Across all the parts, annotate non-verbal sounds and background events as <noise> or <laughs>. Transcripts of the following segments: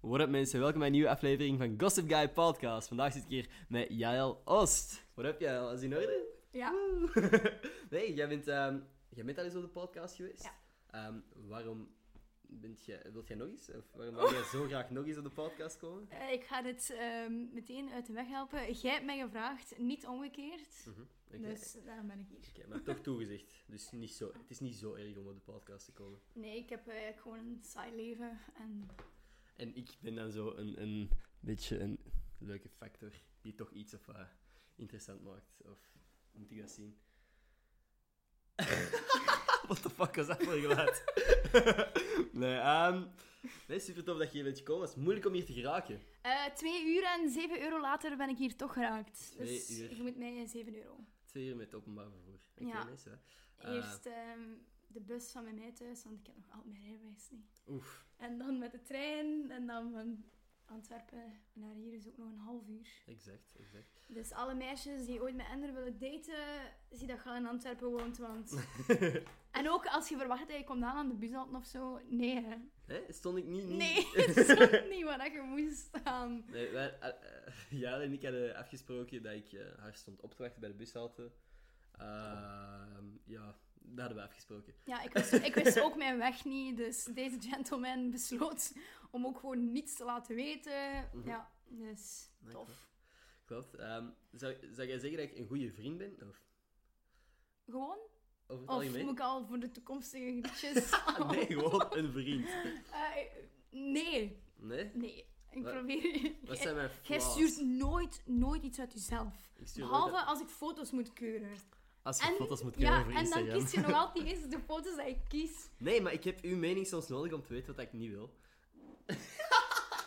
What up mensen, welkom bij een nieuwe aflevering van Gossip Guy Podcast. Vandaag zit ik hier met Jael Oost. What up Jael, is het in orde? Ja, Woe. <laughs> nee, jij bent, ehm, jij bent al eens op de podcast geweest. Ja. Ehm, waarom bent jij, wilt jij nog eens? Of waarom wil jij <laughs> zo graag nog eens op de podcast komen? eh, ik ga dit ehm, meteen uit de weg helpen. Jij hebt mij gevraagd, niet omgekeerd. Mhm, Oké, Dus daarom ben ik hier. Oké, maar toch toegezegd. Dus niet zo, het is niet zo erg om op de podcast te komen. Nee, ik heb eigenlijk gewoon een saai leven. En En ik ben dan zo een, een beetje een leuke factor die toch iets of wat interessant maakt. Of hoe moet ik dat zien? <laughs> What the fuck was dat voor geluid? <laughs> nee, ehm, nee, super tof dat je hier bent gekomen. Het is moeilijk om hier te geraken. eh, twee uur en zeven euro later ben ik hier toch geraakt. Twee Dus uur. je moet mij zeven euro. Twee uur met het openbaar vervoer. Oké, Ja. nee, zo. Ah. Eerst ehm, de bus van bij mij thuis, want ik heb nog altijd mijn rijbewijs niet. Oef, En dan met de trein en dan van Antwerpen naar hier is ook nog een half uur. exact, exact. Dus alle meisjes die ooit met Ender willen daten, zie dat je al in Antwerpen woont. <laughs> Want... en ook als je verwacht dat je komt aan aan de bushalte of zo. Nee, hè. Hè? Stond ik niet... niet... Nee, <laughs> dat is ook niet waar dat je moest staan. Nee, wij, eh, <laughs> eh, Jaren en ik hadden afgesproken dat ik eh, haar stond op te wachten bij de bushalte. Ehm, ja, dat hadden we afgesproken. Ja, ik wist, ik wist ook mijn weg niet. Dus deze gentleman besloot om ook gewoon niets te laten weten. Mhm. Ja, dus Nee, tof. Klopt. Ehm, zou, zou jij zeggen dat ik een goede vriend ben? Of Gewoon? over het Of algemeen? moet ik al voor de toekomstige liedjes? Ah, <laughs> nee, gewoon een vriend. Eh, nee, Nee? nee. Ik Wat- probeer... Wat zijn mijn Jij flaws? stuurt nooit, nooit iets uit jezelf. Ik stuur nooit- Behalve als ik foto's moet keuren. Als en- moet Ja, en dan kies je nog <laughs> altijd eens de foto's die ik kies. Nee, maar ik heb uw mening soms nodig om te weten wat ik niet wil. <laughs>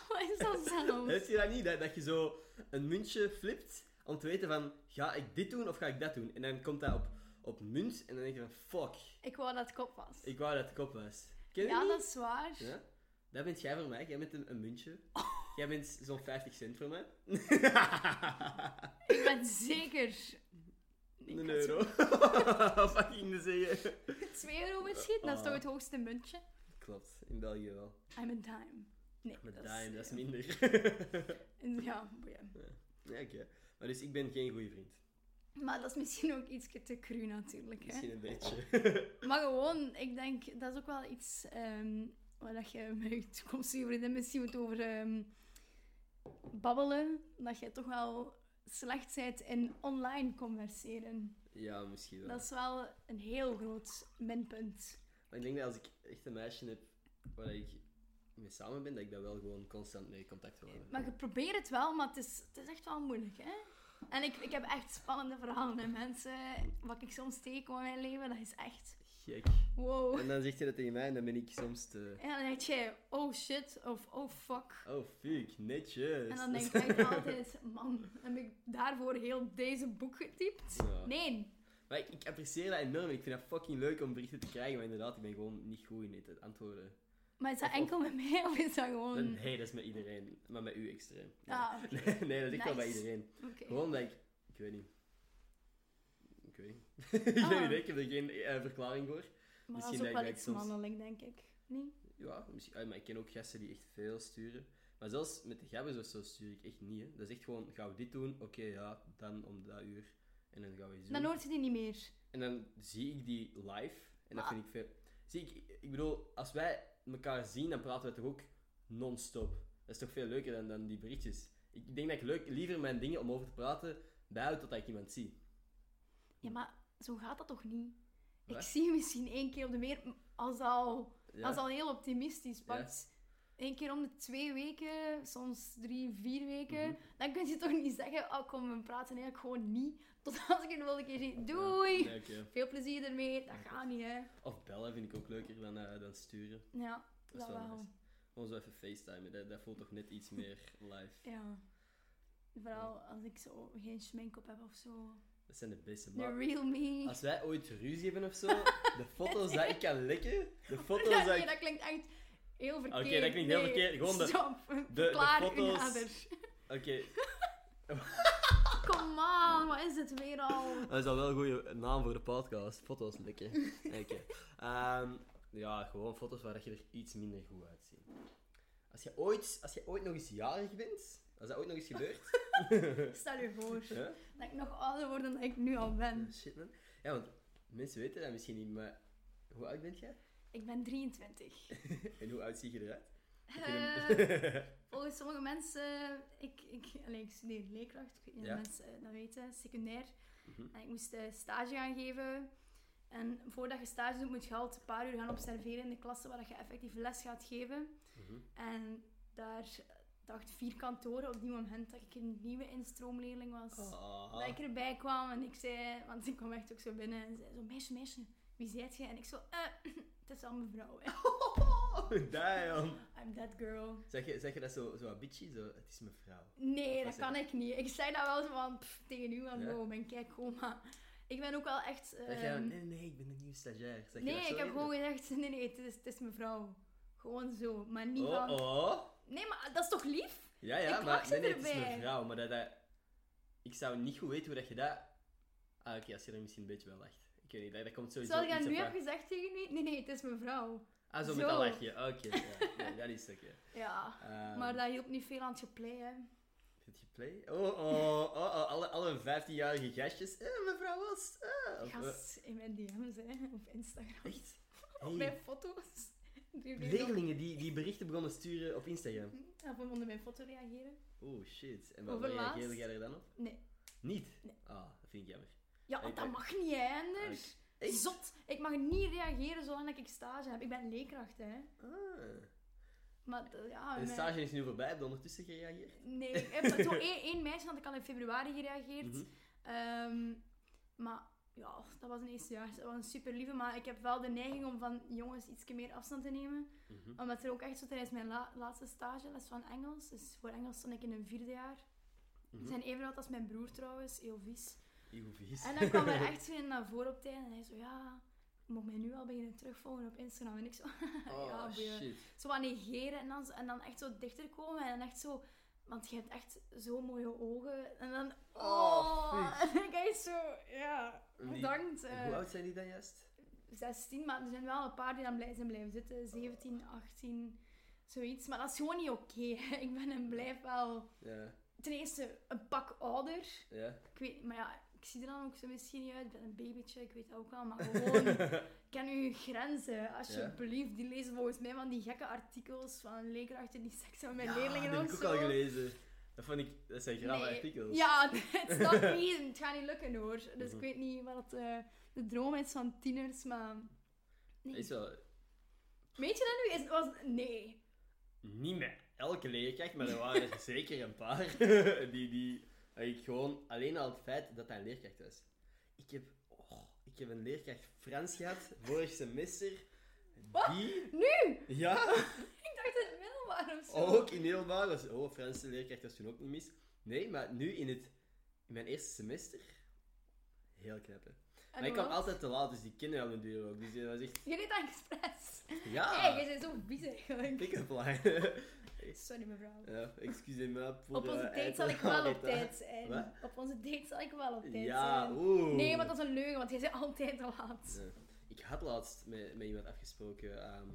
Wat is dat zelf? Heb je dat niet? Dat, dat je zo een muntje flipt om te weten van... Ga ik dit doen of ga ik dat doen? En dan komt dat op, op munt en dan denk je van... Fuck, Ik wou dat het kop was. Ik wou dat het kop was. Ken je Ja, die? dat is waar. Ja? Dat bent jij voor mij. Jij bent een, een <laughs> muntje. Jij bent zo'n 50 cent voor mij. Ik ben zeker... Ik een had euro. <laughs> Wat ging je zeggen? zo- 2 euro misschien? Dat is toch Ah. het hoogste muntje? Klopt, in België wel. I'm a dime. Nee, Met dat dime, dat is ja. minder. <laughs> Ja, boeien. ja, oké. Maar dus ik ben geen goede vriend. Maar dat is misschien ook iets te cru natuurlijk. Hè? Misschien een beetje. <laughs> Maar gewoon, ik denk, dat is ook wel iets ehm, waar dat je met je toekomstige vriendin misschien moet over ehm, babbelen. Dat je toch wel slecht bent in online converseren. ja, misschien wel. Dat is wel een heel groot minpunt. Maar ik denk dat als ik echt een meisje heb waar ik mee samen ben, dat ik daar wel gewoon constant mee contact wil hebben. Maar je probeert het wel, maar het is, het is echt wel moeilijk, hè? En ik, ik heb echt spannende verhalen met mensen. Wat ik soms tegenkom in mijn leven, dat is echt... Gek. Wow. En dan zegt je dat tegen mij en dan ben ik soms te... En dan denk je, oh shit, of oh fuck. Oh, fuck, netjes. En dan denk ik altijd, man, heb ik daarvoor heel deze boek getypt? <laughs> Ja. Nee. Maar ik, ik apprecieer dat enorm. Ik vind dat fucking leuk om berichten te krijgen. Maar inderdaad, ik ben gewoon niet goed in het antwoorden. Maar is dat Of- of- enkel met mij of is dat gewoon... Nee, dat is met iedereen. Maar met u extreem. <laughs> Ah, oké. Nee, nee, dat is echt wel bij Nice. iedereen. Oké. Gewoon dat ik... Ik weet niet. Ik weet niet. <laughs> ik heb geen Ah. idee, ik heb er geen eh, verklaring voor. Maar dat misschien is dat ik- ook wel dat ik iets soms- mannelijk, denk ik. Nee? Ja, misschien, ah, maar ik ken ook gasten die echt veel sturen. Maar zelfs met de gabbers of zo stuur ik echt niet. Hè. Dat is echt gewoon, gaan we dit doen? Oké, ja, dan om dat uur. En dan gaan we iets doen. Dan hoort je die niet meer. En dan zie ik die live. En dat Maar- vind ik veel. Zie ik, ik bedoel, als wij elkaar zien, dan praten we toch ook non-stop. Dat is toch veel leuker dan, dan die berichtjes. Ik denk dat ik leuk, liever mijn dingen om over te praten bijhoud totdat ik iemand zie. Ja, maar zo gaat dat toch niet? Wat? Ik zie je misschien één keer op de meer, als dat al, Ja. als dat al heel optimistisch pakt. Eén keer om de twee weken, soms drie, vier weken. Mhm. Dan kun je toch niet zeggen, oh kom, we praten eigenlijk gewoon niet. Tot als ik een wilde keer zie, doei! Ja, nee, oké. Veel plezier ermee, dat gaat niet, hè. Of bellen vind ik ook leuker dan, eh, dan sturen. Ja, Dat is dat wel wel. nice. Gewoon zo even facetimen, dat, dat voelt toch net iets meer live. Ja. Vooral als ik zo geen schmink op heb of zo. Dat zijn de beste. The Maar real me. <laughs> als wij ooit ruzie hebben of zo, de foto's dat ik kan likken, de foto's Ja, dat nee, ik dat klinkt echt heel verkeerd. Oké, dat klinkt heel Nee, verkeerd. Gewoon de- Stop, de verklaar u foto's- nader. Oké, Kom aan, wat is het weer <laughs> al? Dat is al wel een goede naam voor de podcast. Foto's likken. Oké. Ehm, ja, gewoon foto's waar dat je er iets minder goed uitziet. Als Als je ooit, als je ooit nog eens jarig bent, als dat ooit nog eens gebeurt. Stel je voor hè? dat ik nog ouder word dan dat ik nu al ben. Ja, Shit, man. Ja, want mensen weten dat misschien niet, maar hoe oud bent jij? <laughs> Ik ben 23. En hoe oud zie je eruit? Eh, <laughs> volgens sommige mensen, ik, ik, allee, ik studeer leerkracht, ik weet niet of Ja. mensen eh, dat weten, secundair. Mhm. En ik moest eh, stage gaan geven. En voordat je stage doet, moet je altijd een paar uur gaan observeren in de klasse waar dat je effectief les gaat geven. Mhm. En daar dacht vier kantoren op die moment dat ik een nieuwe instroomleerling was. Ah. Dat ik erbij kwam en ik zei, want ik kwam echt ook zo binnen en zei zo, meisje, meisje, wie zijt je? En ik zo, eh, <laughs> het is al mijn vrouw. <laughs> Damn. I'm that girl. Zeg je, zeg je dat zo, zo bitchy? Zo, het is mijn vrouw. Nee, Wat dat zeg kan ik niet. Ik zei dat wel zo van, pff, tegen u, want Ja. wow, mijn kijk gewoon, maar ik ben ook wel echt... Zeg je dan, ehm, nee, nee, nee, ik ben een nieuwe stagiair. Zeg je nee, dat zo ik heb in? gewoon gezegd, <laughs> nee, nee, het is, het is mijn vrouw. Gewoon zo, maar niet Oh, van... oh. Nee, maar dat is toch lief? Ja, ja, maar Ik wacht nee, nee, het is erbij. mijn vrouw. Maar dat, dat, ik zou niet goed weten hoe dat je dat... Ah, oké, als je er misschien een beetje wel lacht. Ik weet niet, dat, dat komt sowieso Zou jij iets nu op hebben haar- gezegd tegen u? Nee, nee, het is mijn vrouw. Ah, zo, met Zo. dat lachje. Oké, ja, nee, dat is oké. Ja, Ehm, maar dat hielp niet veel aan het geplay, hè. Oh, Zit je play? Oh, oh, oh, oh, alle, alle 15-jarige gastjes. Eh, mevrouw was. Eh, of, eh, Gast in mijn DM's, hè, op Instagram. <laughs> echt? Op Hey, mijn foto's. Die weer Leerlingen die, die berichten begonnen te sturen op Instagram. nog- Of onder mijn foto reageren. Oh shit. En wat Hoeveel laatst? reageerde jij er dan op? Nee. Niet? Nee. Ah, dat vind ik jammer. Ja, want dat mag niet, hè, anders. Ah, Ik- Zot. Ik mag niet reageren zolang ik stage heb. Ik ben leerkracht, hè. Ah. Maar eh, ja... De mijn- stage is nu voorbij, heb je ondertussen gereageerd? Nee, ik heb <laughs> zo één, één meisje had ik al in februari gereageerd. Mhm. Ehm, maar ja, dat was een eerste jaar. Dat was een super lieve. Maar ik heb wel de neiging om van jongens iets meer afstand te nemen. Mhm. Omdat er ook echt zo tijdens mijn la- laatste stage les van Engels. Dus voor Engels stond ik in een vierde jaar. Mhm. Zijn even oud als mijn broer trouwens, heel vies. Eeuw, vies. En dan kwam <laughs> er echt zo in naar voren op tijd. En hij zo, ja, je mag mij nu al beginnen terugvolgen op Instagram. En ik zo, Oh, ja, boeien shit. zo wat negeren en dan, zo- en dan echt zo dichter komen en dan echt zo... Want je hebt echt zo mooie ogen. En dan... Oh, <laughs> en dan kijk je zo... Ja, Die- bedankt. En eh, Hoe oud zijn die dan juist? 16, maar er zijn wel een paar die dan blij zijn blijven zitten. 17, 18, zoiets. Maar dat is gewoon niet oké. <laughs> Ik ben en blijf wel... Ja, Ten eerste een pak ouder. ja. Ik weet... Maar ja, ik zie er dan ook zo misschien niet uit. Ik ben een babytje, ik weet dat ook wel. <laughs> Maar gewoon... Ken uw grenzen, alsjeblieft. Die lezen volgens mij van die gekke artikels van leerkrachten die seks hebben met Ja, leerlingen Dat of heb ik ook zo. al gelezen. Dat vond ik, dat zijn grave Nee. artikels. Ja, het <laughs> staat niet. Het gaat niet lukken hoor. Dus Mhm. ik weet niet wat eh, de droom is van tieners, maar. Nee. Is wel, Weet je dat nu? Is, was, nee. niet met elke leerkracht, maar <laughs> er waren er zeker een paar <laughs> die, die dat ik gewoon alleen al het feit dat hij een leerkracht was. Ik heb, oh, ik heb een leerkracht Frans gehad vorig semester. Wat? Die, Nu! ja, Ik dacht in het middelbaar of zo. ook in middelbaar was, oh, Franse leerkracht was toen ook niet mis. Nee, maar nu in het, in mijn eerste semester, heel knap hè. En maar ik kwam wat? altijd te laat, dus die kennen wel mijn duur ook. Dus dat was <laughs> echt, Je deed dat expres. ja, Hey, je bent zo vies eigenlijk. pick-up line. Sorry mevrouw. <laughs> ja, excusez me pour, Op onze eh, date zal ik wel op tijd zijn. Wat? Op onze date zal ik wel op tijd Ja, zijn. oeh. Nee, want dat is een leugen, want jij bent altijd te laat. Ja. eh, Ik had laatst met, met iemand afgesproken, ehm,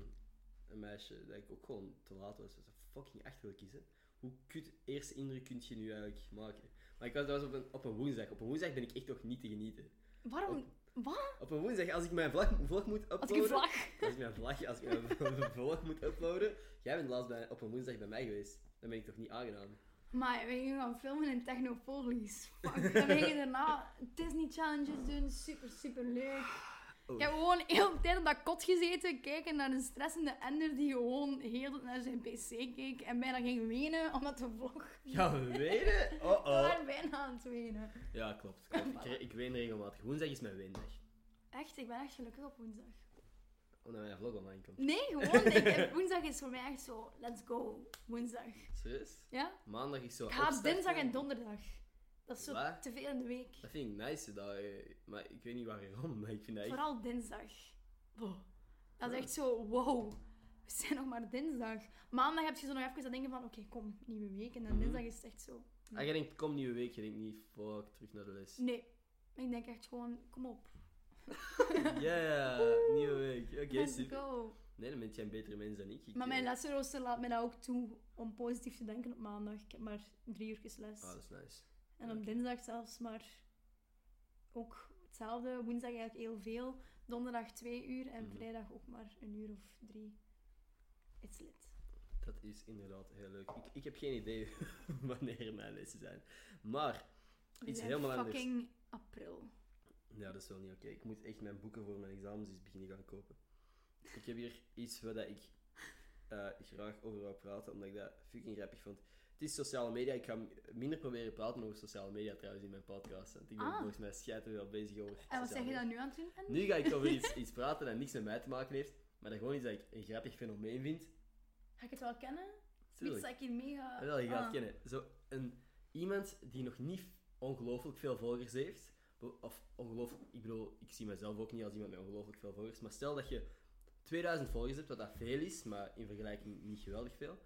een meisje, dat ik ook gewoon te laat was. Dat is fucking echt wil kiezen. Hoe kut eerste indruk kun je nu eigenlijk maken? Maar ik was, dat was op, een, op een woensdag. Op een woensdag ben ik echt nog niet te genieten. Waarom? Wat? Op een woensdag, als ik mijn vlag, vlog moet uploaden... Als ik een vlag. Als ik mijn vlag, als ik mijn <laughs> vlog moet uploaden... Jij bent laatst bij, op een woensdag bij mij geweest. Dan ben ik toch niet aangenaam. Maar we gingen gaan filmen in Technopolis. Fuck. <laughs> Dan gingen daarna Disney challenges doen. Super, super leuk. Oh. Ik heb gewoon heel de tijd op dat kot gezeten. Kijken naar een stressende ender die gewoon heel de tijd naar zijn pc keek. En bijna ging wenen omdat de vlog. Gaan we wenen? Oh We oh. waren bijna aan het wenen. Ja, klopt. klopt. Ik, ik ween regelmatig. Woensdag is mijn weendag. Echt, ik ben echt gelukkig op woensdag. Omdat mijn vlog online <laughs> komt. Nee, gewoon. Ik <laughs> heb, woensdag is voor mij echt zo, let's go. Woensdag. Serieus? Ja? Maandag is zo. Ik ga op opstarten. dinsdag en donderdag. Dat is zo Waar? te veel in de week. Dat vind ik nice, dat, eh, maar ik weet niet waarom, <laughs> maar ik vind dat echt... Vooral dinsdag. Wow. Dat is echt zo, wow. We zijn nog maar dinsdag. Maandag heb je zo nog even dat denken van, oké, kom, nieuwe week. En dan Mhm. dinsdag is het echt zo. Ah, <laughs> je denkt, kom nieuwe week, je denkt niet, fuck, terug naar de les. Nee. Ik denk echt gewoon, kom op. Ja, nieuwe week. Oké, Let's super. go. Nee, dan bent jij een betere mens dan ik. Ik, Maar mijn eh, laatste rooster laat mij dat ook toe om positief te denken op maandag. Ik heb maar drie uurtjes les. Ah, dat is nice. en op oké. dinsdag zelfs maar ook hetzelfde. Woensdag eigenlijk heel veel. Donderdag twee uur en Mhm. vrijdag ook maar een uur of drie. It's lit. Dat is inderdaad heel leuk. Ik, ik heb geen idee <laughs> wanneer mijn lessen zijn. Maar, We Iets zijn helemaal anders. fucking april. ja, dat is wel niet oké. Ik moet echt mijn boeken voor mijn examens eens beginnen gaan kopen. Ik heb hier iets waar dat ik eh, graag over wil praten, omdat ik dat fucking grappig vond. Het is sociale media. Ik ga m- minder proberen praten over sociale media trouwens in mijn podcast. Want ik ben Ah. volgens mij scheiter wel bezig over En wat sociale zeg je media. dan nu aan het doen? En- Nu ga ik over iets, iets praten dat niks met mij te maken heeft, maar dat gewoon iets dat ik een grappig fenomeen vind. Ga ik het wel kennen? Iets Tuurlijk. dat ik hier mega... Wel, je gaat het Ah. kennen. Zo, een, iemand die nog niet ongelooflijk veel volgers heeft, be- of ongelooflijk, ik bedoel, ik zie mezelf ook niet als iemand met ongelooflijk veel volgers, maar stel dat je 2000 volgers hebt, wat dat veel is, maar in vergelijking niet geweldig veel,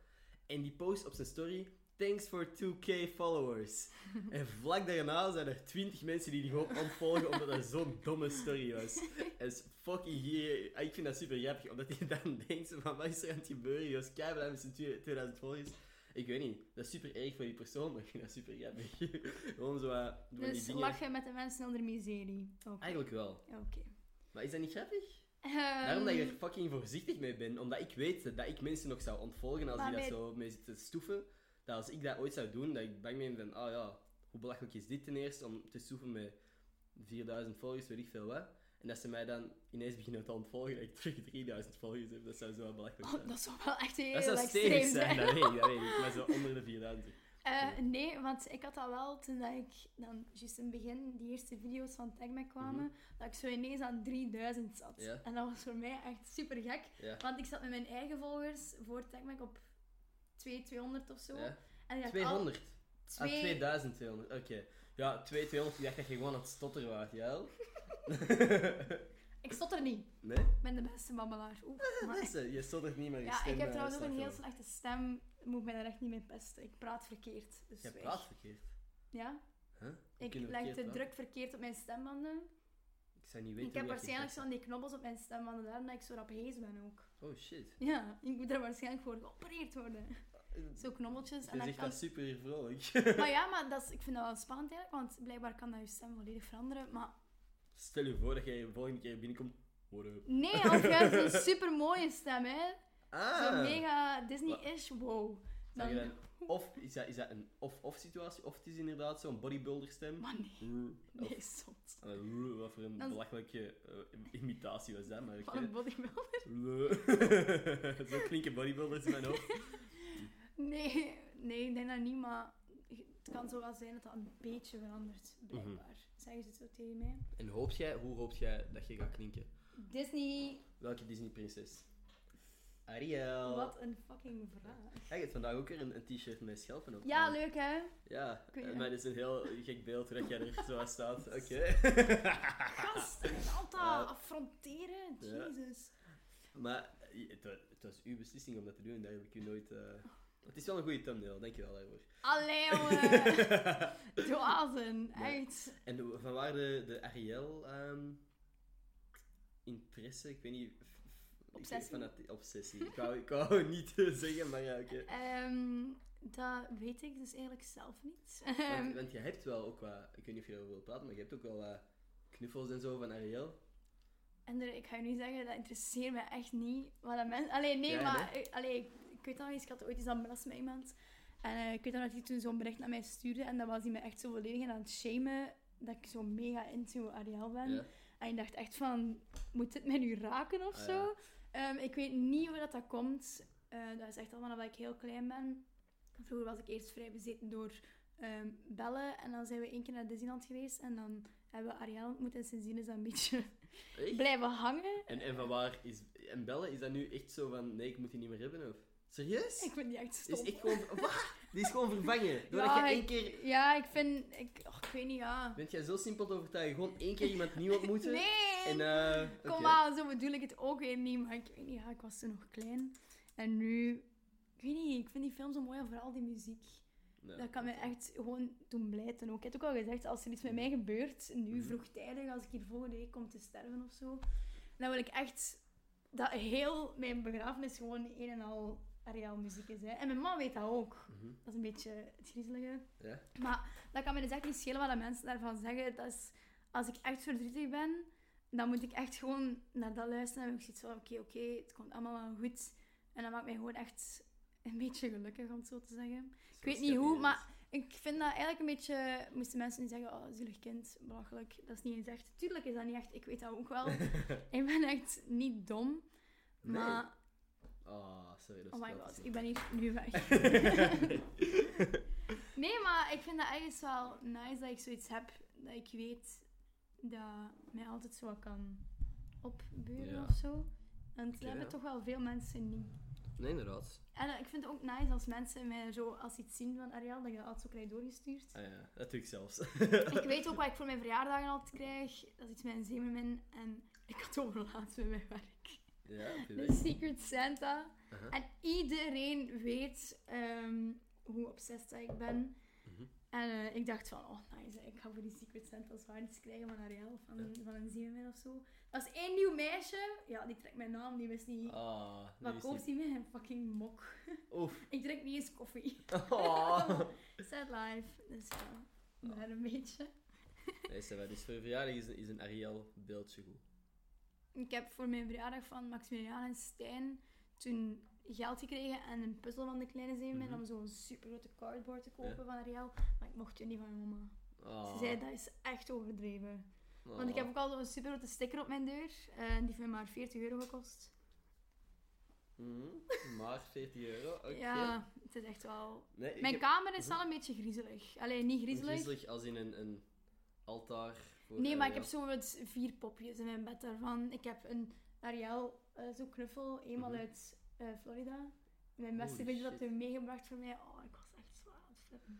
en die post op zijn story, thanks for 2k followers. en vlak daarna zijn er 20 mensen die die gewoon ontvolgen omdat dat zo'n domme story was. En is fucking hier, ik vind dat super grappig, omdat je dan <laughs> denkt van, wat is er aan het gebeuren? Je was keihard met z'n 2000 volgers. Ik weet niet, dat is super erg voor die persoon, maar ik vind dat super grappig. <laughs> Gewoon zo eh, van die Dus dingen. lachen met de mensen onder miserie. Oké. Eigenlijk wel. Oké. Maar is dat niet grappig? Ehm, Daarom dat ik er fucking voorzichtig mee ben, omdat ik weet dat ik mensen nog zou ontvolgen als Maar die dat bij- zo mee zitten stoeven. Dat als ik dat ooit zou doen, dat ik bang ben van, ah ja, hoe belachelijk is dit ten eerste om te stoeven met 4000 volgers, weet ik veel wat. En dat ze mij dan ineens beginnen te ontvolgen dat ik terug 3000 volgers heb, dat zou zo wel belachelijk <laughs> Oh, zijn. dat zou wel echt heel dat zou extreem stevig zijn, dat weet ik, dat weet ik. Maar zo onder de 4000. <laughs> Eh, nee, want ik had dat wel toen dat ik dan juist in het begin die eerste video's van TagMac kwamen, dat ik zo ineens aan 3000 zat. Mhm. Ja. En dat was voor mij echt super gek, Ja. want ik zat met mijn eigen volgers voor TagMac op 2, 200 of zo. Ja. En ik dacht, 200. al, Ah, twee- 2200, oké. Ja, 2200, ik dacht dat je gewoon aan het stotteren was, ja? <laughs> wel? Ik stond er niet. <laughs> nee? Ik ben de beste babbelaar. <laughs> Oeh, maar- Mensen, je stottert niet meer. je Ja, stem, ik heb eh, trouwens ook slaat een heel wel. slechte stem. Je Moet mij daar echt niet mee pesten. Ik praat verkeerd. Dus Je zwijg. praat verkeerd. Ja. Huh? Hoe Ik kunnen we leg verkeerd de praten? druk verkeerd op mijn stembanden. Ik zou niet weten Ik heb hoe dat waarschijnlijk je zo'n die knobbels op mijn stembanden, daarom dat ik zo rap hees ben ook. praat. Oh shit. Ja, ik moet er waarschijnlijk voor geopereerd worden. Zo knobbeltjes. Je En dan zegt kan... dat super vrolijk. <laughs> Maar ja, maar dat is, ik vind dat wel spannend eigenlijk, want blijkbaar kan dat je stem volledig veranderen. Maar Stel je voor dat jij de volgende keer binnenkomt. What up? nee, want jij hebt een super mooie stem, hè? Ah! Zo mega Disney-ish, wow. Zeg je Dan... dan, of is dat, is dat een of-of situatie, of het is inderdaad zo'n bodybuilder stem. <laughs> Maar nee, Of, <laughs> nee, zot. Ah, rrr, wat voor een Dan- belachelijke eh, imitatie was dat, maar ik Van een bodybuilder. <laughs> Rrr. <laughs> Zo klinken bodybuilders in mijn hoofd. Nee, nee, ik denk dat niet, maar het kan zo wel zijn dat dat een beetje verandert, Mhm. blijkbaar. Zeggen ze het zo tegen mij. En hoop jij, hoe hoop jij dat je gaat klinken? Disney, Welke Disney-prinses? Ariel. wat een fucking vraag. Hij heeft vandaag ook weer een, een t-shirt met schelpen op. Ja, aan. leuk hè? Ja, weet eh, het. maar dat is een heel gek beeld hoe dat jij er zo aan <laughs> staat. Oké. <laughs> Gast, altijd Ja. affronteren, Ja. jezus. maar eh, het, wa- het was uw beslissing om dat te doen, daar heb ik u nooit... eh, Het is wel een goede thumbnail, dankjewel <laughs> daarvoor. <laughs> Allee jongen, dwazen, Nee. uit. en de- vanwaar de, de Ariel... ehm, interesse, ik weet niet... f- f- Obsessie. fanati- obsessie. Ik wou, ik wou <laughs> het niet eh, zeggen, maar ja, oké. Ehm, dat weet ik dus eigenlijk zelf niet. Want, Ehm, want je hebt wel ook wat... Ik weet niet of je daarover wilt praten, maar je hebt ook wel wat knuffels en zo van Ariel. En er- ik ga je nu zeggen, dat interesseert me echt niet. Wat dat mensen... Allee, nee, Ja, maar... eh, Allee, ik, ik weet nog eens, ik had ooit eens aan belast met iemand. En eh, ik weet nog dat hij toen zo'n bericht naar mij stuurde. En dan was hij me echt zo volledig aan het shamen. Dat ik zo mega into Ariel ben. Ja. En ik dacht echt van, moet dit mij nu raken of Ah, ja. zo? Ehm, ik weet niet hoe dat, dat komt. Eh, dat is echt al vanaf dat ik heel klein ben. Vroeger was ik eerst vrij bezeten door ehm, bellen. En dan zijn we één keer naar Disneyland geweest. En dan hebben we Ariel ontmoet. En sindsdien is dat een beetje <laughs> Echt? blijven hangen. En, en van waar is. En bellen, is dat nu echt zo van. Nee, ik moet die niet meer hebben? Of? Serieus? Ik vind die echt Die stom. is echt gewoon. Wat? Die is gewoon vervangen. Doordat Ja, je één ik- keer. Ja, ik vind... Ik, och, ik weet niet, ja. Bent jij zo simpel te overtuigen? Gewoon één keer iemand nieuw ontmoeten? Nee! En, eh Kom oké. aan, zo bedoel ik het ook weer niet. Maar ik weet niet, ja, ik was toen nog klein. En nu... Ik weet niet, ik vind die film zo mooi en vooral die muziek. Ja. Dat kan me echt gewoon doen blijten ook. Ik heb ook al gezegd, als er iets met mij gebeurt, nu Mhm. vroegtijdig, als ik hier volgende week kom te sterven of zo, dan wil ik echt dat heel mijn begrafenis gewoon een en al areaal muziek is. Hè. En mijn man weet dat ook. Mhm. Dat is een beetje het griezelige. Ja. Maar dat kan me dus echt niet schelen wat de mensen daarvan zeggen. Dat is, als ik echt verdrietig ben, dan moet ik echt gewoon naar dat luisteren. En heb ik zoiets van, oké, oké, het komt allemaal wel goed. En dat maakt mij gewoon echt een beetje gelukkig, om het zo te zeggen. Zo weet niet hoe, maar- Ik vind dat eigenlijk een beetje... Moesten mensen niet zeggen, oh, zielig kind, belachelijk. Dat is niet eens echt... Tuurlijk is dat niet echt, ik weet dat ook <laughs> wel. Nee. ik ben echt niet dom. Maar, <laughs> Ah, sorry, dat is oh my wel te <laughs> god, zien. ik ben hier nu weg. nee, maar ik vind dat ergens wel nice dat ik zoiets heb. Dat ik weet dat mij altijd zo wat kan opbeuren Ja. of zo. Want Oké, dat hebben ja. toch wel veel mensen niet. Nee, inderdaad. En eh, ik vind het ook nice als mensen mij zo als iets zien van Ariel, dat je dat altijd zo krijgt doorgestuurd. Ah, ja, dat doe ik zelfs. <laughs> Ik weet ook wat ik voor mijn verjaardagen altijd krijg. Dat is iets met een zeemermin. En ik had overlaat met mijn werk. ja, heb je De dat? Secret Santa. Aha. En iedereen weet ehm, hoe obsessed dat ik ben. Mhm. En eh, ik dacht van, oh nice, ik ga voor die Secret Santa zwaar iets krijgen van Ariel. Of van, een- van een zeemermin of zo. Als één nieuw meisje, ja, die trekt mijn naam, die wist niet... Ah, nu wat is koopt die- die met een fucking mok? Oef. <laughs> Ik drink niet eens koffie. <laughs> Oh. Ah. Sad life. Dus ja, maar een beetje. Nee, Sarah, dus voor je verjaardag is een, is een Ariel beeldje goed. Ik heb voor mijn verjaardag van Maximiliaan en Stijn toen geld gekregen en een puzzel van de kleine zeemermin Mhm. om zo'n super grote cardboard te kopen van Ariel. Maar ik mocht je niet van mijn mama. Ah. Ze zei dat is echt overdreven. Want Ah. ik heb ook al zo'n super grote sticker op mijn deur. eh, die heeft me maar 40 euro gekost. Mhm, Maar 40 euro, oké. Ja, het is echt wel. Nee, ik Mijn heb kamer is Mhm. al een beetje griezelig. Alleen niet een griezelig. griezelig als in een, een altaar. Voor eh, Nee, maar ik heb Ariel. zo wat vier popjes in mijn bed daarvan. Ik heb een Ariel, eh zo'n knuffel, eenmaal Mhm. uit eh, Florida. Mijn beste Holy vriendin had shit. hem meegebracht voor mij. Oh, ik was echt zwaar aan het flippen.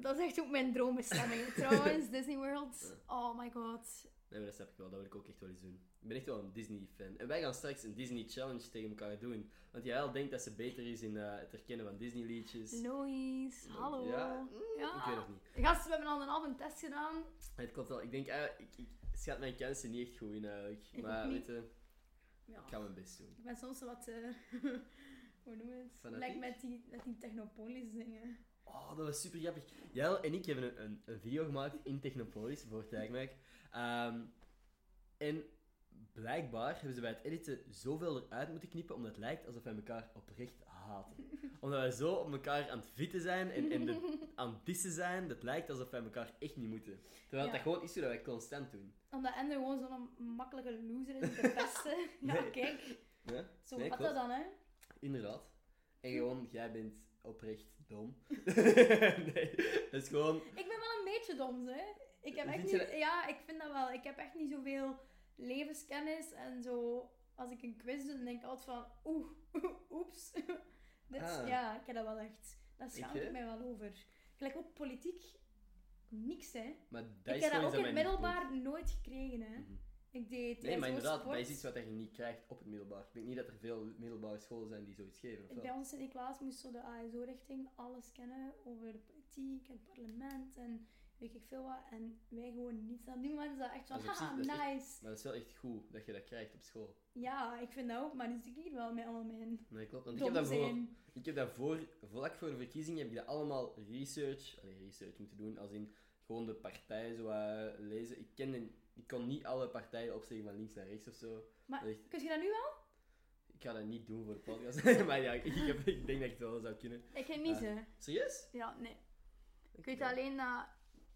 Dat is echt ook <laughs> mijn droombestemming trouwens, Disney World. Oh my god. Nee, maar dat snap ik wel, dat wil ik ook echt wel eens doen. Ik ben echt wel een Disney-fan. En wij gaan straks een Disney-challenge tegen elkaar doen. Want jij al denkt dat ze beter is in eh, het herkennen van Disney-liedjes. Louise, hallo. Ja, Ja, Ik weet het niet. Gasten, we hebben al een half een test gedaan. Het klopt wel. Ik denk, eigenlijk, ik, ik schat mijn kansen niet echt goed in eigenlijk. Ik maar ook weet niet. je, Ja. ik ga mijn best doen. Ik ben soms wat, eh, <laughs> hoe noem je het? Fanatiek? Like met die, met die Technopolis dingen. Oh, dat was super grappig. Jel en ik hebben een, een, een video gemaakt in Technopolis voor Tijgmerk. Ehm, en blijkbaar hebben ze bij het editen zoveel eruit moeten knippen, omdat het lijkt alsof wij elkaar oprecht haten. Omdat wij zo op elkaar aan het vitten zijn en, en de- aan het dissen zijn, dat lijkt alsof wij elkaar echt niet moeten. Terwijl Ja. dat gewoon is hoe dat wij constant doen. Omdat Ender gewoon zo'n makkelijke loser is, de <laughs> beste. ja, Nee. kijk. Ja? Zo Nee, gaat klopt. dat dan, hè. Inderdaad. Hm. En gewoon, jij bent oprecht dom. <laughs> nee, dat is gewoon... Ik ben wel een beetje dom, hè. Ik heb echt Vind niet... je dat- Ja, ik vind dat wel. Ik heb echt niet zoveel levenskennis en zo... Als ik een quiz doe, dan denk ik altijd van... Oeh, <laughs> oeps. Dit, Ah. Ja, ik heb dat wel echt. Daar schaam Ik, ik, hè? mij wel over. Gelijk ook politiek. Niks, hè. Maar dat ik is heb gewoon iets dat ook in mij het niet boeit. middelbaar nooit gekregen, hè. Mhm. Ik deed... Nee, eh, maar zo inderdaad, sport. dat is iets wat je niet krijgt op het middelbaar. Ik denk niet dat er veel middelbare scholen zijn die zoiets geven. Of Bij wel? ons in die klas moest zo de ASO-richting alles kennen over de politiek en het parlement en weet ik veel wat. En wij gewoon niets. En op die moment is dat echt van, Dat is op haha, zich- dat is echt- nice. Maar dat is wel echt goed dat je dat krijgt op school. Ja, ik vind dat ook, maar nu zit ik hier wel met allemaal mijn Nee, klopt. Want ik heb dom dat voor, zijn. ik heb dat voor, vlak voor de verkiezing, heb ik dat allemaal research, allee, research moeten doen, als in gewoon de partijen zo eh, lezen. Ik, ken, ik kon niet alle partijen opzeggen van links naar rechts of zo. Maar Echt. kun je dat nu wel? Ik ga dat niet doen voor de podcast, <laughs> maar ja, ik, ik heb- ik denk dat ik het wel zou kunnen. Ik heb niet, hè. Serieus? Ja, nee. Ik weet alleen dat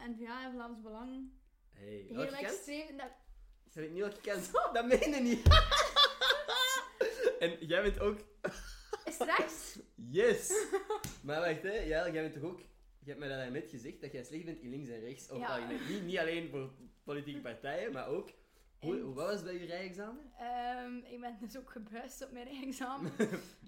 N-VA en Vlaams Belang Hey, heel welke kant? extreem... Dat... Dat heb ik niet al gekend. Dat meen je niet. <laughs> en jij bent ook... Is het <laughs> rechts? Yes! maar wacht, hè. Jijl, jij bent toch ook... Je hebt mij dat net gezegd, dat jij slecht bent in links en rechts. Of Ja. algemeen. niet, niet alleen voor politieke partijen, maar ook... Hoe, En- hoe wat was bij je rijexamen? Ehm, ik ben dus ook gebuist op mijn <laughs> examen.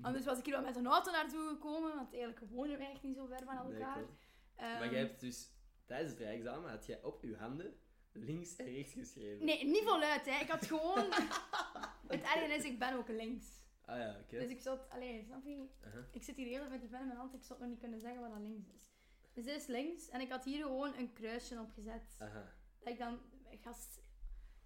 Anders was ik hier wel met een auto naartoe gekomen, want eigenlijk wonen wij echt niet zo ver van Nee, elkaar. klopt. Ehm, maar jij hebt dus... Tijdens het rijexamen had jij op je handen links en rechts geschreven. <laughs> Nee, niet voluit, hè. Ik had gewoon... het ergste is, ik ben ook links. Ah ja, oké. Dus ik zou het... Allee, snap je? Aha. Ik zit hier heel eventjes met mijn hand. Ik zou het nog niet kunnen zeggen wat dat links is. Dus dit is links. En ik had hier gewoon een kruisje op gezet. Aha. Dat ik dan... Gast,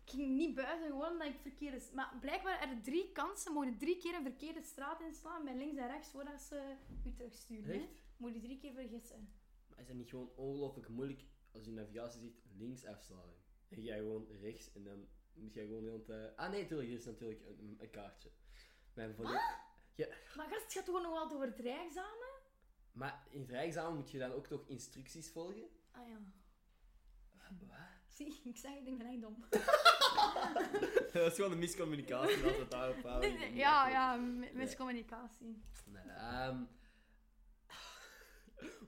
ik ging niet buiten, gewoon omdat ik verkeerde... s- Maar blijkbaar er drie kansen. Mogen drie keer een verkeerde straat inslaan. Bij links en rechts, voordat ze u terugsturen. hè. Echt? Moet je drie keer vergissen. Maar is dat niet gewoon ongelooflijk moeilijk als je navigatie ziet links afslaan? En jij gewoon rechts en dan moet jij gewoon de hele tijd... Ah nee, tuurlijk, hier is natuurlijk een, een- een kaartje. Mijn volle... Maar gast, het gaat toch nog wel door het rijexamen? Maar in het rijexamen moet je dan ook toch instructies volgen? Ah ja. Wat? Zie, ik zeg het, ik ben echt dom. <laughs> dat is gewoon een miscommunicatie, laten we het daarop houden. ja, ja, mi- miscommunicatie. <laughs> Nee, ehm, <laughs>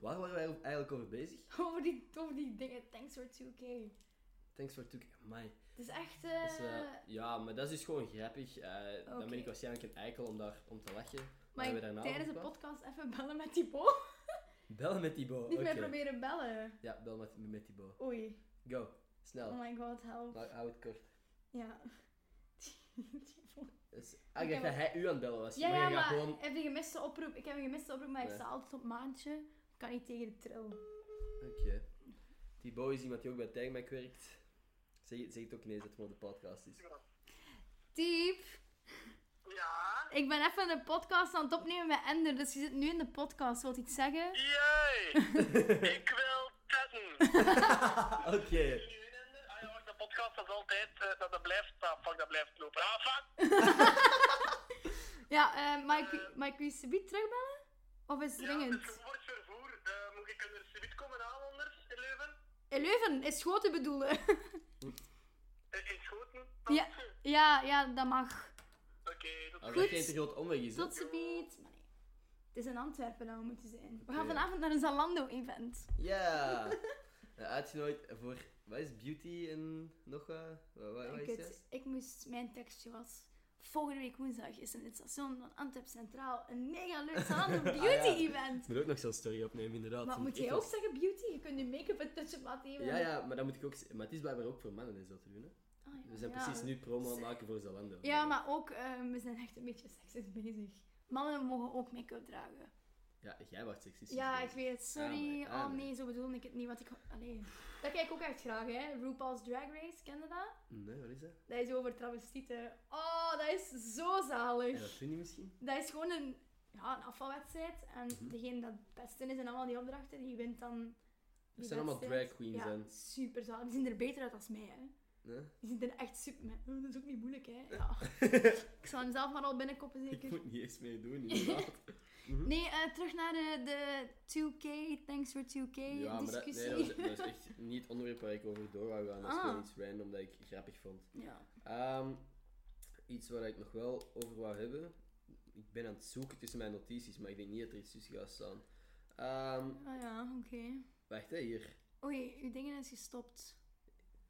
waar waren wij eigenlijk over bezig? Over die, over die dingen, thanks for 2K. Thanks for took... Amai. Het is echt... Dat eh is, eh, ja, maar dat is dus gewoon grappig. Eh, Dan ben Oké. ik waarschijnlijk een eikel om, daar, om te lachen. maar hebben ik- we daarna tijdens de over gepraat? podcast even bellen met Thibaut. Bel met Thibaut. Niet meer oké. proberen bellen. Ja, bel met, met Thibaut. Oei. Go, snel. Oh my god, help. Maar hou het kort. Ja. <laughs> Dus, ah, Oké, ik dacht maar- dat hij u aan het bellen was. ja, maar ja, je gaat maar gewoon... heb je gemiste oproep? Ik heb een gemiste oproep, maar ik Nee. sta altijd op maandje. Ik kan niet tegen de trill. Oké. Thibaut is iemand die ook bij Tijgmac werkt. Zeg, zeg het ook ineens dat het gewoon de podcast is. <laughs> Diep, Ja? ik ben even een podcast aan het opnemen met Ender, dus je zit nu in de podcast. Wilt iets zeggen? <laughs> Jee! ik wil tetten. Oké. Ah ja, wacht, de podcast dat is altijd, eh, dat, dat blijft, ah, fuck, dat blijft lopen. Ah, fuck! Ja, eh, maar ik- maar ik wil je subiet terugbellen? Of is het Ja, dus dringend? voor het vervoer, eh, moet ik er subiet komen halen anders in Leuven? Eh, Leuven is Schoten bedoelen. Eh, in Schoten? Ja. <laughs> ja, ja, dat mag. Oké, tot Als Goed. dat geen te groot omweg is, hè? Tot subiet. Maar nee. Het is in Antwerpen dat we moeten zijn. We gaan Oké. vanavond naar een Zalando-event. Ja! Nou, Uitgenodigd voor, wat is beauty en nog wat? Wat, wat, wat Ik, is het- dat? ik moest, mijn tekstje was... Volgende week woensdag is in het station van Antwerp Centraal een mega leuk <laughs> Zalando Ah, ja. beauty-event. Ik moet ook nog zo'n story opnemen, inderdaad. Maar Dat moet ik jij echt ook zeggen beauty? Je kunt je make-up en touch-up laten wel- even. Ja, ja, maar dat moet ik ook... z- Maar het is blijkbaar ook voor mannen is dat te doen, hè? Ah, ja, We zijn ja. precies nu promo aan het maken voor Zalando. Ja, maar ook, ehm, we zijn echt een beetje seksisch bezig. Mannen mogen ook make-up dragen. Ja, jij wordt seksistisch. Ja, ik bezig. weet het. Sorry. Ja, maar- oh nee, zo bedoelde ik het niet. Want ik... Allee. Dat kijk ik ook echt graag, hè. RuPaul's Drag Race, ken je dat? Nee, wat is dat? Dat is over travestieten. Oh, dat is zo Ja, dat zalig. vind je misschien? Dat is gewoon een, ja, een afvalwedstrijd. En Mhm. degene dat het beste is in allemaal die opdrachten, die wint dan... Het die zijn allemaal wedstrijd. drag queens Ja, en... super zalig. Die zien er beter uit als mij, hè. Nee? Die zien er echt super... maar, oh, dat is ook niet moeilijk, hè. Ja. <laughs> ik zal hem zelf maar al binnenkoppen, ik zeker. moet niet eens mee <laughs> doen, inderdaad. Nee, eh, terug naar de, de 2K, thanks for 2K ja, maar dat, discussie. nee, dat, is, dat is echt niet het onderwerp waar ik over door wou gaan. Dat is Ah. gewoon iets random dat ik grappig vond. ja. Ehm, iets waar ik nog wel over wou hebben. Ik ben aan het zoeken tussen mijn notities, maar ik denk niet dat er iets tussen gaat staan. Ehm, Ah ja, oké. wacht, hè, hier. Oei, uw dingen is gestopt.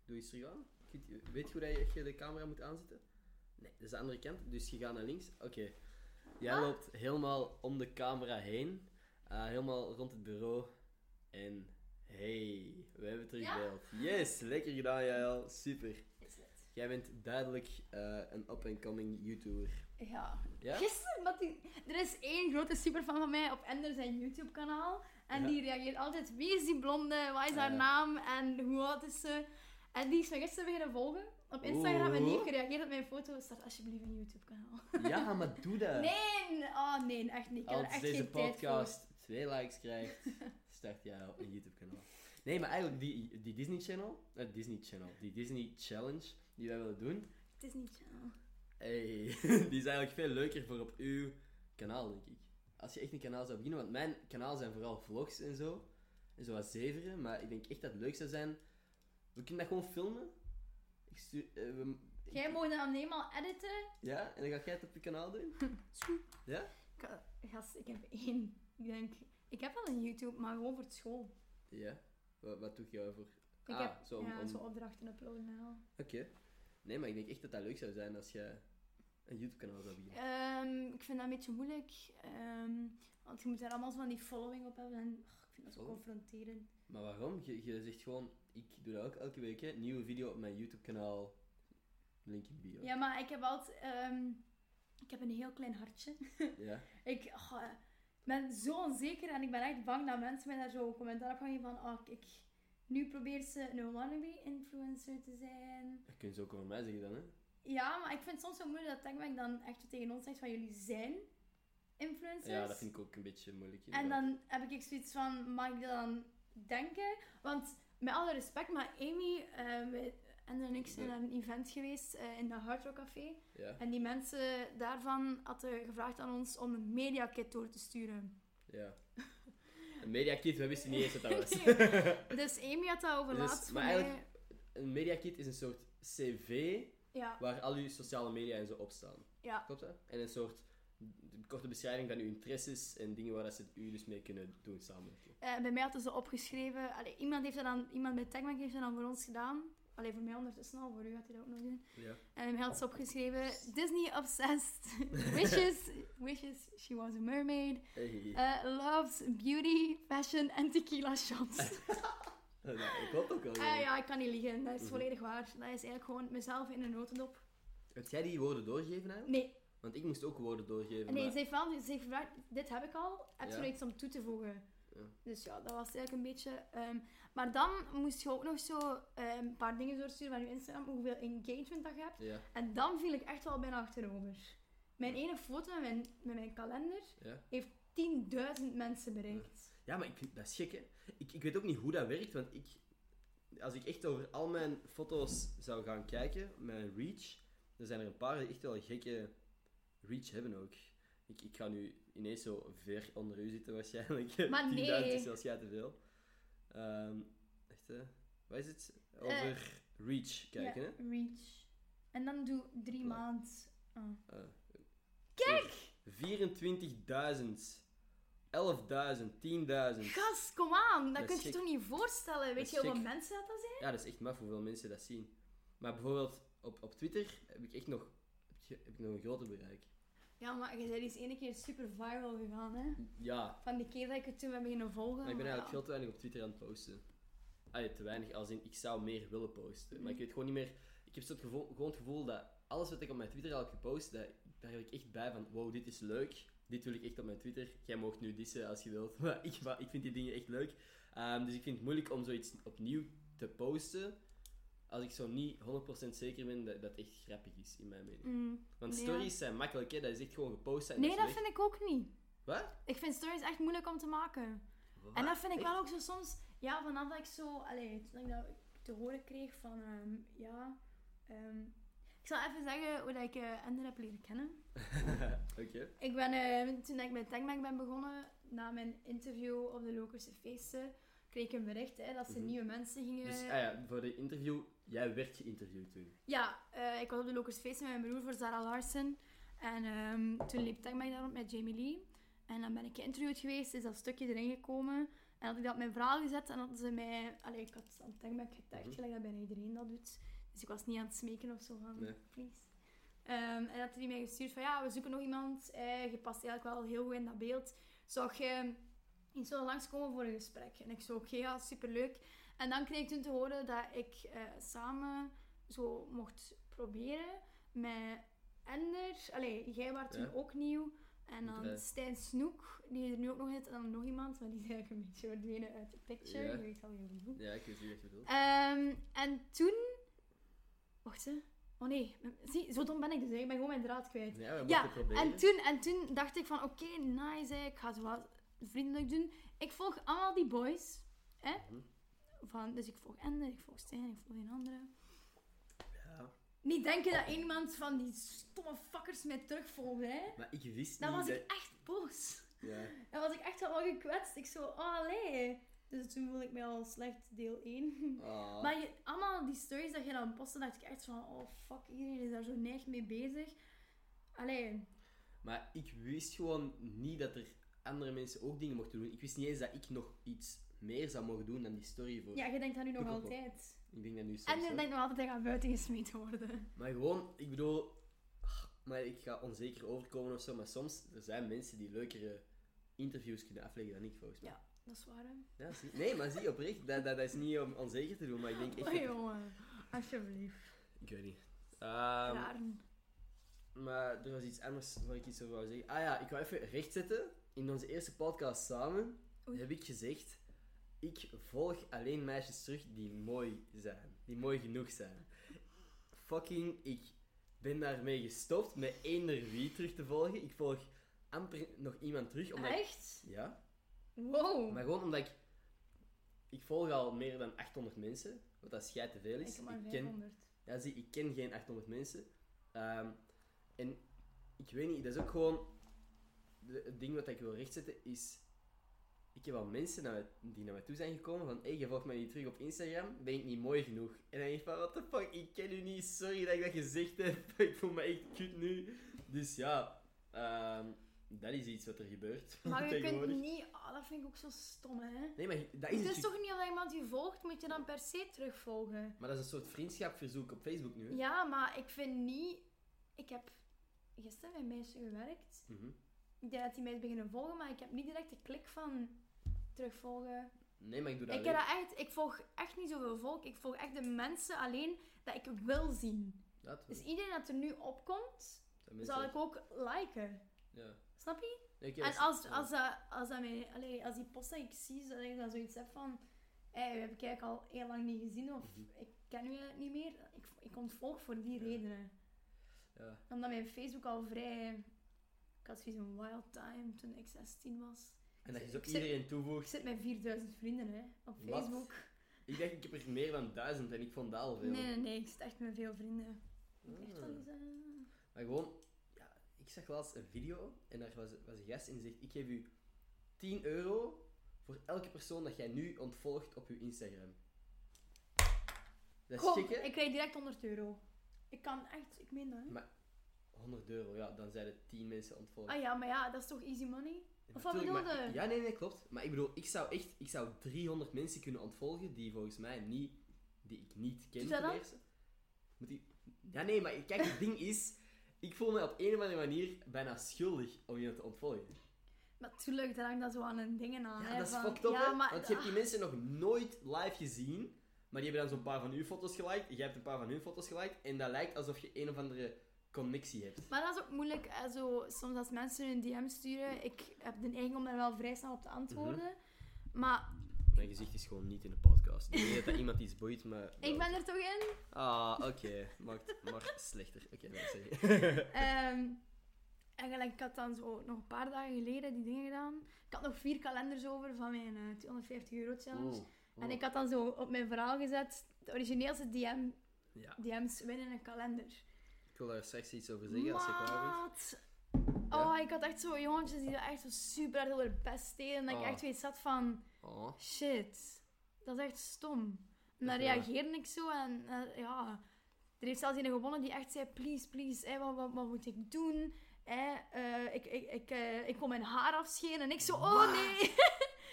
Doe eens terug aan. Ik Weet, weet je hoe dat je echt de camera moet aanzetten? Nee, dat is de andere kant. Dus je gaat naar links. Oké. Jij loopt helemaal om de camera heen. eh, helemaal rond het bureau. En hey, we hebben terugbeeld. Yes, lekker gedaan, Jael. Super. Is het? Jij bent duidelijk eh, een up-and-coming YouTuber. Ja. Ja? <laughs> Gisteren, dat die... er is één grote superfan van mij op Ender zijn YouTube-kanaal. En Ja. die reageert altijd, wie is die blonde, wat is Ah, haar ja. naam en hoe oud is ze? En die is me gisteren beginnen volgen op Instagram en die heeft gereageerd op mijn foto. Start alsjeblieft een YouTube-kanaal. Ja, maar doe dat. Nee, oh nee, echt niet. Ik heb er Als echt deze geen tijd voor. podcast twee likes <laughs> krijgt, start jij op een YouTube-kanaal. Nee, maar eigenlijk die, die Disney Channel, eh, Disney Channel, die Disney Challenge die wij willen doen, Het is niet channel. hey, <laughs> die is eigenlijk veel leuker voor op uw kanaal, denk ik. Als je echt een kanaal zou beginnen, want mijn kanaal zijn vooral vlogs en zo, en zo wat zeveren, maar ik denk echt dat het leuk zou zijn. We kunnen dat gewoon filmen. Ik stuur, eh, we- ik- Jij mag dat helemaal editen. Ja, en dan ga jij het op je kanaal doen. Ja? Ik, eh, gast, ik heb één. Ik denk, ik heb wel een YouTube, maar gewoon voor het school. Ja. Wat, wat doe jij voor? Ik Ah, heb zo om- ja, om- zo opdrachten uploaden en al. Oké. Nee, maar ik denk echt dat dat leuk zou zijn als je een YouTube-kanaal zou beginnen. Ehm, ik vind dat een beetje moeilijk, ehm, want je moet daar allemaal zo van die following op hebben. En, oh, ik vind dat zo Following? confronterend. Maar waarom? Je, je zegt gewoon, ik doe dat ook elke week, hè. Nieuwe video op mijn YouTube-kanaal. Link in bio. Ja, maar ik heb altijd... ehm, Ik heb een heel klein hartje. Ja. Ik ah, ben zo onzeker en ik ben echt bang dat mensen mij daar zo commentaar op gaan geven van ah, kijk, nu probeert ze een wannabe-influencer te zijn. Dat kun je ook over mij zeggen dan, hè? Ja, maar ik vind het soms zo moeilijk dat Techbank dan echt tegen ons zegt van jullie zijn influencers. Ja, dat vind ik ook een beetje moeilijk. En inderdaad. dan heb ik zoiets van, mag ik dat dan denken? Want met alle respect, maar Amy eh, wij- en en ik zijn naar een event geweest eh, in de Hard Rock Café. Ja, En die mensen daarvan hadden gevraagd aan ons om een mediakit door te sturen. ja. Een mediakit, we wisten niet eens wat dat was. <laughs> Dus Amy had dat over Dus- laatst voor maar mij- eigenlijk- <laughs> Een mediakit is een soort cv Ja, waar al je sociale media en zo op staan. ja, Klopt dat? En een soort korte beschrijving van uw interesses en dingen waar dat ze u dus mee kunnen doen samenwerken. Eh, bij mij hadden ze opgeschreven. Allee, iemand, heeft dat dan, iemand bij Techbank heeft dat dan voor ons gedaan. Alleen voor mij ondertussen al, voor u had hij dat ook nog doen. Ja. En hij had ze opgeschreven: Disney obsessed. <laughs> wishes, wishes she was a mermaid. Uh, loves beauty, fashion en tequila shots. dat klopt nou, ook wel. Eh, ja, ik kan niet liegen. Mhm. Dat is volledig waar. Dat is eigenlijk gewoon mezelf in een notendop. Heb jij die woorden doorgegeven eigenlijk? Nee, Want ik moest ook woorden doorgeven. nee maar- ze heeft wel ze heeft gevraagd: dit heb ik al. Heb je Ja. nog iets om toe te voegen? Ja. Dus ja, dat was eigenlijk een beetje. ehm, maar dan moest je ook nog zo eh, een paar dingen doorsturen van je Instagram, hoeveel engagement dat je hebt. Ja, En dan viel ik echt wel bijna achterover. Mijn ene foto met mijn, met mijn kalender ja. heeft 10.000 mensen bereikt. ja, maar ik vind dat is gek, hè. Ik, ik weet ook niet hoe dat werkt, want ik... Als ik echt over al mijn foto's zou gaan kijken, mijn reach, er zijn er een paar die echt wel gekke reach hebben ook. Ik, ik ga nu ineens zo ver onder u zitten waarschijnlijk. <laughs> <laughs> Maar 10.000 nee. is waarschijnlijk te veel. Ehm, echt, hè. Wat is het? Over reach kijken, hè. Eh. Ja, reach. En dan doe drie Voilà. maanden. Ah. Eh, Kijk! 24.000, 11.000, 10.000. Gast, kom aan. Dat Dat kun is je gek. je toch niet voorstellen? Weet is je hoeveel gek. mensen dat, dat zijn? Ja, dat is echt maf hoeveel mensen dat zien. Maar bijvoorbeeld op, op Twitter heb ik echt nog, heb ik- heb ik nog een groter bereik. Ja, maar je bent eens ene keer super viral gegaan, hè? Ja, Van die keer dat ik het toen ben beginnen volgen. maar ik ben maar eigenlijk ja. veel te weinig op Twitter aan het posten. Allee, te weinig als in ik zou meer willen posten. Maar Mhm. ik weet gewoon niet meer. Ik heb zo het gevo- gewoon het gevoel dat alles wat ik op mijn Twitter al heb gepost, dat, daar heb ik echt bij van: wow, dit is leuk. Dit wil ik echt op mijn Twitter. Jij mag nu dissen als je wilt. <laughs> Maar ik, maar ik vind die dingen echt leuk. Ehm, dus ik vind het moeilijk om zoiets opnieuw te posten. Als ik zo niet 100% zeker ben dat dat echt grappig is, in mijn mening. Mm. Want Nee, stories zijn makkelijk, hè? dat is echt gewoon gepost. En Nee, dat is weg. vind ik ook niet. Wat? Ik vind stories echt moeilijk om te maken. En dat vind ik Echt? wel ook zo soms... Ja, vanaf dat ik zo... Allee, toen ik dat te horen kreeg van... ehm, ja... ehm, ik zal even zeggen hoe dat ik eh Ender heb leren kennen. <laughs> Oké. Ik ben, eh, toen ik met Tankbank ben begonnen, na mijn interview op de Lokerse Feesten, kreeg ik een bericht hè, dat ze Mhm. nieuwe mensen gingen... Dus ah ja, voor de interview, jij werd geïnterviewd toen. Ja, eh, ik was op de Lokers Feesten met mijn broer voor Sarah Larsen. En ehm, toen liep Tankbank daar rond met Jamie Lee. En dan ben ik geïnterviewd geweest, is dat stukje erin gekomen. En had ik dat op mijn verhaal gezet en hadden ze mij... Allee, ik had aan Tankbank getuigd, Mhm. gelijk dat bijna iedereen dat doet. Dus ik was niet aan het smeken of zo van, Nee. please. Ehm, en had hij mij gestuurd van, ja, we zoeken nog iemand. Eh, je past eigenlijk wel heel goed in dat beeld. Zou je eens willen langskomen voor een gesprek? En ik zo, oké, ja, superleuk. En dan kreeg ik toen te horen dat ik eh, samen zo mocht proberen met Ender. Allee, jij was toen Ja. ook nieuw. En dan Ja. Stijn Snoek, die er nu ook nog zit. En dan nog iemand, maar die is eigenlijk een beetje verdwenen uit de picture. Ja. Je weet al heel goed. Ja, ik weet niet wat je bedoelt. Ehm, en toen... Wacht, hè. Oh nee. Zie, zo dom ben ik dus. hè. Ik ben gewoon mijn draad kwijt. Eh, Ja, we Ja, moeten proberen. En toen, en toen dacht ik van, oké, nice, hè. ik ga het wel vriendelijk doen. Ik volg allemaal die boys. Hè? Mhm. Van, dus ik volg Ender, ik volg Stijn, ik volg een andere. Ja. Niet denken dat iemand van die stomme fuckers mij terugvolgde, hè. Maar ik wist Dan niet was dat... ik echt boos. Ja. Dan was ik echt wel gekwetst. Ik zo, oh, allee. Dus toen voelde ik mij al slecht, deel 1. Ah. Maar je, allemaal die stories dat je dan postte, dacht ik echt van, oh fuck, iedereen is daar zo neig mee bezig. Allee, Maar ik wist gewoon niet dat er andere mensen ook dingen mochten doen. Ik wist niet eens dat ik nog iets meer zou mogen doen dan die story voor. ja, je denkt dat nu nog Doe ik ook wel. altijd. Ik denk dat nu soms En je wel. denkt nog altijd dat je gaat buiten gesmeten worden. Maar gewoon, ik bedoel... ah, Maar ik ga onzeker overkomen of zo, maar soms er zijn mensen die leukere interviews kunnen afleggen dan ik, volgens mij. Ja. Dat is waar, hè? Ja, zie- nee, maar zie, oprecht, dat, dat, dat is niet om onzeker te doen, maar ik denk echt... Oh, dat- jongen. Alsjeblieft. Ik weet niet. Ehm, Raren. Maar er was iets anders waar ik iets over wou zeggen. Ah ja, ik wou even rechtzetten. In onze eerste podcast samen Oei. heb ik gezegd... Ik volg alleen meisjes terug die mooi zijn. Die mooi genoeg zijn. Fucking, ik ben daarmee gestopt met eender wie terug te volgen. Ik volg amper nog iemand terug. Omdat ik- Echt? Ja. Wow. Maar gewoon omdat ik... Ik volg al meer dan 800 mensen, wat dat schijt te veel Ik is. heb maar ken, 500. ja, zie, ik ken geen 800 mensen. Ehm, en ik weet niet, dat is ook gewoon... de- het ding wat ik wil rechtzetten is... Ik heb al mensen naar mij- die naar mij toe zijn gekomen van... hey, je volgt mij niet terug op Instagram, ben ik niet mooi genoeg? En dan denk ik van, what the fuck, ik ken u niet, sorry dat ik dat gezegd heb. <laughs> Ik voel me echt kut nu. Dus ja, ehm, dat is iets wat er gebeurt. <laughs> Maar je kunt tegenwoordig. niet... ah, dat vind ik ook zo stom, hè. Nee, maar dat is Het het is toch niet omdat iemand je volgt, moet je dan per se terugvolgen? Maar dat is een soort vriendschapverzoek op Facebook nu. hè? Ja, maar ik vind niet... Ik heb gisteren met mensen gewerkt. Mhm. Ik denk dat die mij beginnen volgen, maar ik heb niet direct de klik van terugvolgen. Nee, maar ik doe dat Ik, heb wel. dat echt, ik volg echt niet zoveel volk. Ik volg echt de mensen alleen dat ik wil zien. Dat, Dus iedereen dat er nu opkomt, dat mensen- zal ik ook liken. Ja. Snap je? Nee, ik heb En dat- als, ja. als, dat, als, dat mij, allee, als die post dat ik zie, dat ik dan zoiets heb van... Hey, heb ik eigenlijk al heel lang niet gezien of Mhm. ik ken u eigenlijk niet meer. Ik, ik ontvolg voor die Ja. redenen. Ja. Omdat mijn Facebook al vrij... Ik had zoiets een wild time toen ik 16 was. En dat je Ik zo zit- iedereen Ik toevoegt. zit met 4000 vrienden hè, op Wat? Facebook. Ik dacht, ik heb er meer dan duizend en ik vond dat al veel. Nee, nee, nee. Ik zit echt met veel vrienden. Moet ik Echt wel Ah. eens, eh, Maar gewoon, ja, ik zag laatst een video en daar was, was een gast in die zegt: Ik geef u 10 euro voor elke persoon dat jij nu ontvolgt op uw Instagram. Dat is Goh, gek, hè? ik krijg direct 100 euro. Ik kan echt... Ik meen dat, hè. 100 euro, ja, dan zijn er 10 mensen ontvolgd. Ah ja, maar ja, dat is toch easy money? Ja, Of wat tuurlijk, maar bedoelde? ik- Ja, nee, nee, klopt. Maar ik bedoel, ik zou echt ik zou 300 mensen kunnen ontvolgen die volgens mij niet, die ik niet ken. Doe dat ten dan? eerste. Moet ik... Ja, nee, maar kijk, het ding is, ik voel me op een of andere manier bijna schuldig om iemand te ontvolgen. Natuurlijk, daar hangt dat zo aan een dingen aan. Ja, hè, dat is van- fucked up, Ah, ja, hè? maar ah, Want je hebt die mensen nog nooit live gezien, maar die hebben dan zo'n paar van uw foto's geliked, jij hebt een paar van hun foto's geliked, en dat lijkt alsof je een of andere connectie hebt. Maar dat is ook moeilijk. eh, Zo, soms als mensen een DM sturen, ik heb de neiging om daar wel vrij snel op te antwoorden. Mhm. Maar Mijn gezicht is gewoon niet in de podcast. Ik weet dat dat iemand iets boeit, maar... ik ben er toch in. Ah, oké. Maakt maar slechter. Oké, dat is het. Ehm, en gelijk, ik had dan zo nog een paar dagen geleden die dingen gedaan. Ik had nog vier kalenders over van mijn eh, 250 euro challenge. En ik had dan zo op mijn verhaal gezet, de origineelste DM, Ja, DM's winnen een kalender. ik wil daar straks iets over zeggen als je klaar bent. Maat! Ja? Oh, ik had echt zo jongetjes die dat echt zo super hard heel best deden. En dat ik Ah. echt weet zat van... Oh. Shit, dat is echt stom. En Dat dan is waar. reageerde ik zo en eh, ja, er heeft zelfs een gewonnen die echt zei: Please, please, eh, wat, wat, wat moet ik doen? Eh, eh, ik, ik, ik, eh, ik wil mijn haar afscheren. En ik zo: Wat? Oh nee,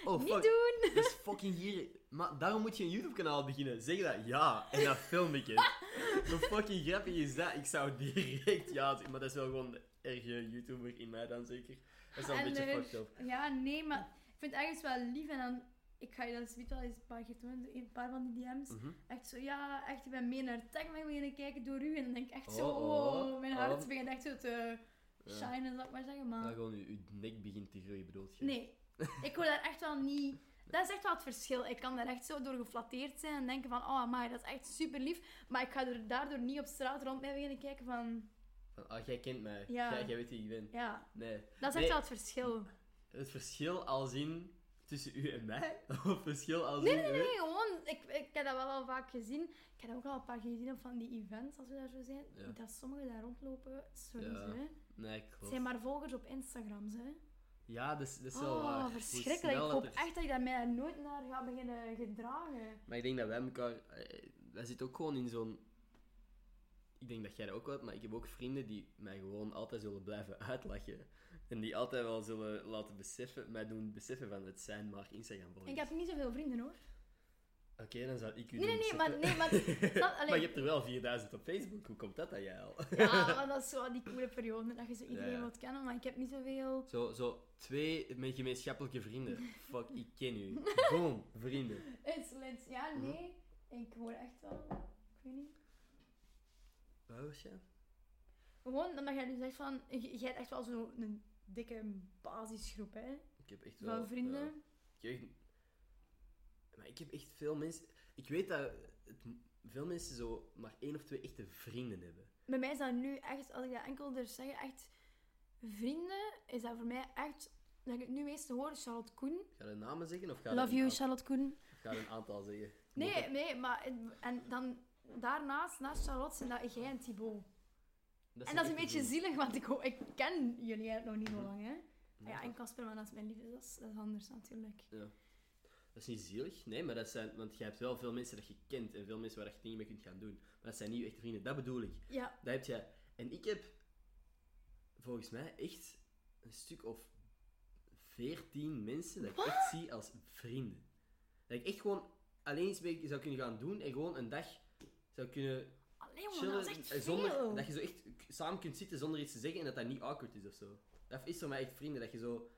Oh, niet fuck. doen. Dat is fucking hier. Maar daarom moet je een YouTube-kanaal beginnen. Zeg dat ja en dat film ik het. Hoe fucking grappig is dat? Ik zou direct ja zeggen. Maar dat is wel gewoon de erge YouTuber in mij dan zeker. Dat is wel een En beetje leuk. fucked up. Ja, nee, maar ik vind het ergens wel lief. En dan, ik ga je dat zoiets wel eens een paar keer doen, een paar van die DM's. Mhm. Echt zo: Ja, echt, ik ben mee naar het tech beginnen kijken door u. En dan denk ik echt zo: Oh, oh, Oh, mijn oh. hart begint echt zo te Ja. shinen, zal ik maar zeggen. Maar... Maar gewoon, je, je nek begint te groeien, bedoel je? Nee, ik word daar echt wel niet. Dat is echt wel het verschil. Ik kan daar echt zo door geflatteerd zijn en denken van, oh maar dat is echt super lief. Maar ik ga er daardoor niet op straat rond mij beginnen kijken van, Van, ah, jij kent mij. Ja. Jij, jij weet wie ik ben. ja, Nee. dat is echt Nee. wel het verschil. Het verschil als in tussen u en mij? <laughs> Of verschil als in... Nee, gewoon, ik, ik heb dat wel al vaak gezien. Ik heb dat ook al een paar keer gezien op van die events, als we daar zo zijn. Ja. Dat sommigen daar rondlopen, sorry Ja, ze. Nee, Het klopt. zijn maar volgers op Instagram, ze. Ja, dat is, dat is wel waar. Oh, Hoe verschrikkelijk. Ik snel hoop dat er- echt dat ik daar mij daar nooit naar ga beginnen gedragen. Maar ik denk dat wij elkaar... eh, Wij zitten ook gewoon in zo'n... Ik denk dat jij dat ook wel hebt, maar ik heb ook vrienden die mij gewoon altijd zullen blijven <laughs> uitlachen. En die altijd wel zullen laten beseffen, mij doen beseffen van het zijn maar instagram Ik volgers. heb niet zoveel vrienden <laughs> hoor. Oké, dan zou ik u Nee, doen nee, nee, maar, beseffen. nee, maar, <laughs> snap- allee, maar je hebt er wel 4000 op Facebook, hoe komt dat dat jij al? Ja, Ah, maar dat is zo die coole periode dat je zo iedereen Ja. wilt kennen, maar ik heb niet zoveel. Zo, zo twee mijn gemeenschappelijke <laughs> vrienden. Fuck, ik ken u. Boom, vrienden. Insolent. Ja, Mhm. nee. Ik hoor echt wel. Ik weet niet. Waar was jij? Ik gewoon omdat jij nu zegt van, j- jij hebt echt wel zo'n dikke basisgroep, hè? Ik heb echt wel... Van vrienden. ja. Ik heb echt- Maar ik heb echt veel mensen... Ik weet dat het, veel mensen zo maar één of twee echte vrienden hebben. Bij mij is dat nu echt, als ik dat enkel durf zeggen, echt vrienden, is dat voor mij echt, dat ik het nu meest hoor, Charlotte Koen. Ga je namen zeggen of ga je Love een you, aantal- Charlotte Koen. of ga je een aantal zeggen? Nee, Dat- nee, maar het- en dan daarnaast, naast Charlotte, zijn dat jij en Thibaut. en zijn dat is een echte beetje vrienden. zielig, want ik, ho- ik ken jullie eigenlijk nog niet zo lang, hè? Ah Ja, Ja. en Casper, maar dat is mijn liefde, dat is, dat is anders natuurlijk. Dat is niet zielig, nee, maar dat zijn... Want je hebt wel veel mensen dat je kent en veel mensen waar je dingen mee kunt gaan doen. Maar dat zijn niet je echte vrienden, dat bedoel ik. Ja, Dat heb jij. En ik heb volgens mij echt een stuk of veertien mensen dat ik echt zie als vrienden. Dat ik echt gewoon alleen iets mee zou kunnen gaan doen en gewoon een dag zou kunnen alleen jongen, dat chillen. is echt en veel. eh, zonder, dat je zo echt k- samen kunt zitten zonder iets te zeggen en dat dat niet awkward is of zo. Dat is voor mij echt vrienden, dat je zo...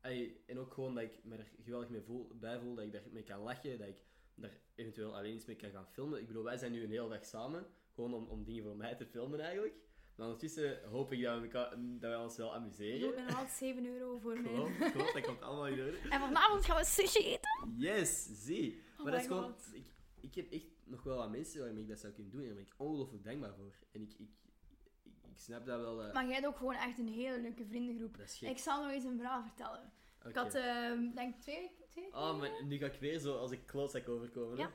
ey, en ook gewoon dat ik me er geweldig mee voel, bij voel, dat ik daarmee kan lachen, dat ik daar eventueel alleen iets mee kan gaan filmen. Ik bedoel, wij zijn nu een hele dag samen, gewoon om, om dingen voor mij te filmen eigenlijk. Maar ondertussen hoop ik dat, we elkaar, dat wij ons wel Ik amuseren. ben nog altijd 7 euro voor mij. Klopt, klopt, dat komt allemaal in orde. En vanavond gaan we sushi eten. Yes, zie. Oh maar dat my is gewoon... God. Ik, ik heb echt nog wel wat mensen waarmee ik dat zou kunnen doen en daar ben ik ongelooflijk dankbaar voor. En ik, ik, ik, ik snap dat wel... eh, Maar jij hebt ook gewoon echt een hele leuke vriendengroep. dat is gek. Ik zal nog eens een verhaal vertellen. Ik Oké. had, ehm, denk ik, twee weken... Twee weken Oh, maar nu ga ik weer zo als ik klootzak overkomen. hè? Ja.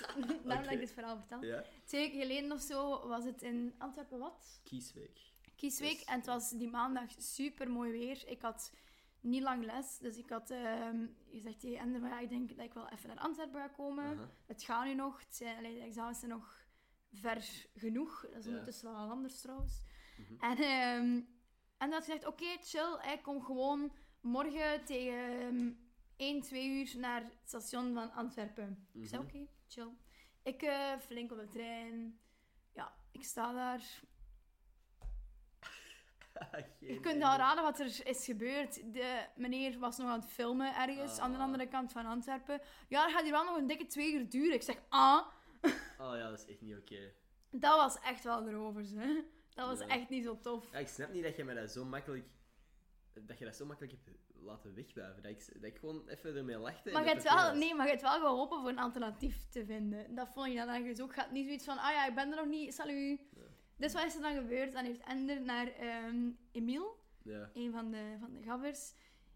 <laughs> <laughs> Daarom dat ik Oké. dit verhaal vertel. Ja. Twee weken geleden of zo was het in Antwerpen wat? Kiesweek. Kiesweek. Yes. En het was die maandag super mooi weer. Ik had niet lang les, dus ik had ehm, gezegd tegen Ender, van, ja, ik denk dat ik wel even naar Antwerpen ga komen. Aha. Het gaat nu nog. Het zijn, allee, de examens zijn nog ver genoeg. Dat is Ja. ondertussen wel al anders trouwens. Mhm. En, ehm en dat gezegd, oké, chill. Ik kom gewoon morgen tegen ehm, 1, 2 uur naar het station van Antwerpen. Mhm. <laughs> Ik zei, oké, chill. Ik eh, flink op de trein. Ja, ik sta daar. Ah, Geen Je kunt idee. al raden wat er is gebeurd. De meneer was nog aan het filmen ergens aan de Ah. andere kant van Antwerpen. Ja, dat gaat hier wel nog een dikke twee uur duren. Ik zeg, ah... Oh ja, dat is echt niet oké. Dat was echt wel erover, hè. Dat was Ja. echt niet zo tof. Ja, ik snap niet dat je mij dat zo makkelijk... Dat je dat zo makkelijk hebt laten wegbuiven. Dat ik, dat ik gewoon even ermee lachte. en Maar je, dat hebt het oké wel, was. nee, maar je hebt wel geholpen voor een alternatief te vinden. Dat vond je dan ergens ook. Gaat niet zoiets van, ah ja, ik ben er nog niet, salut. Dus wat is er dan gebeurd? Dan heeft Ender naar ehm Emiel, Ja. <laughs> een van de, van de gabbers,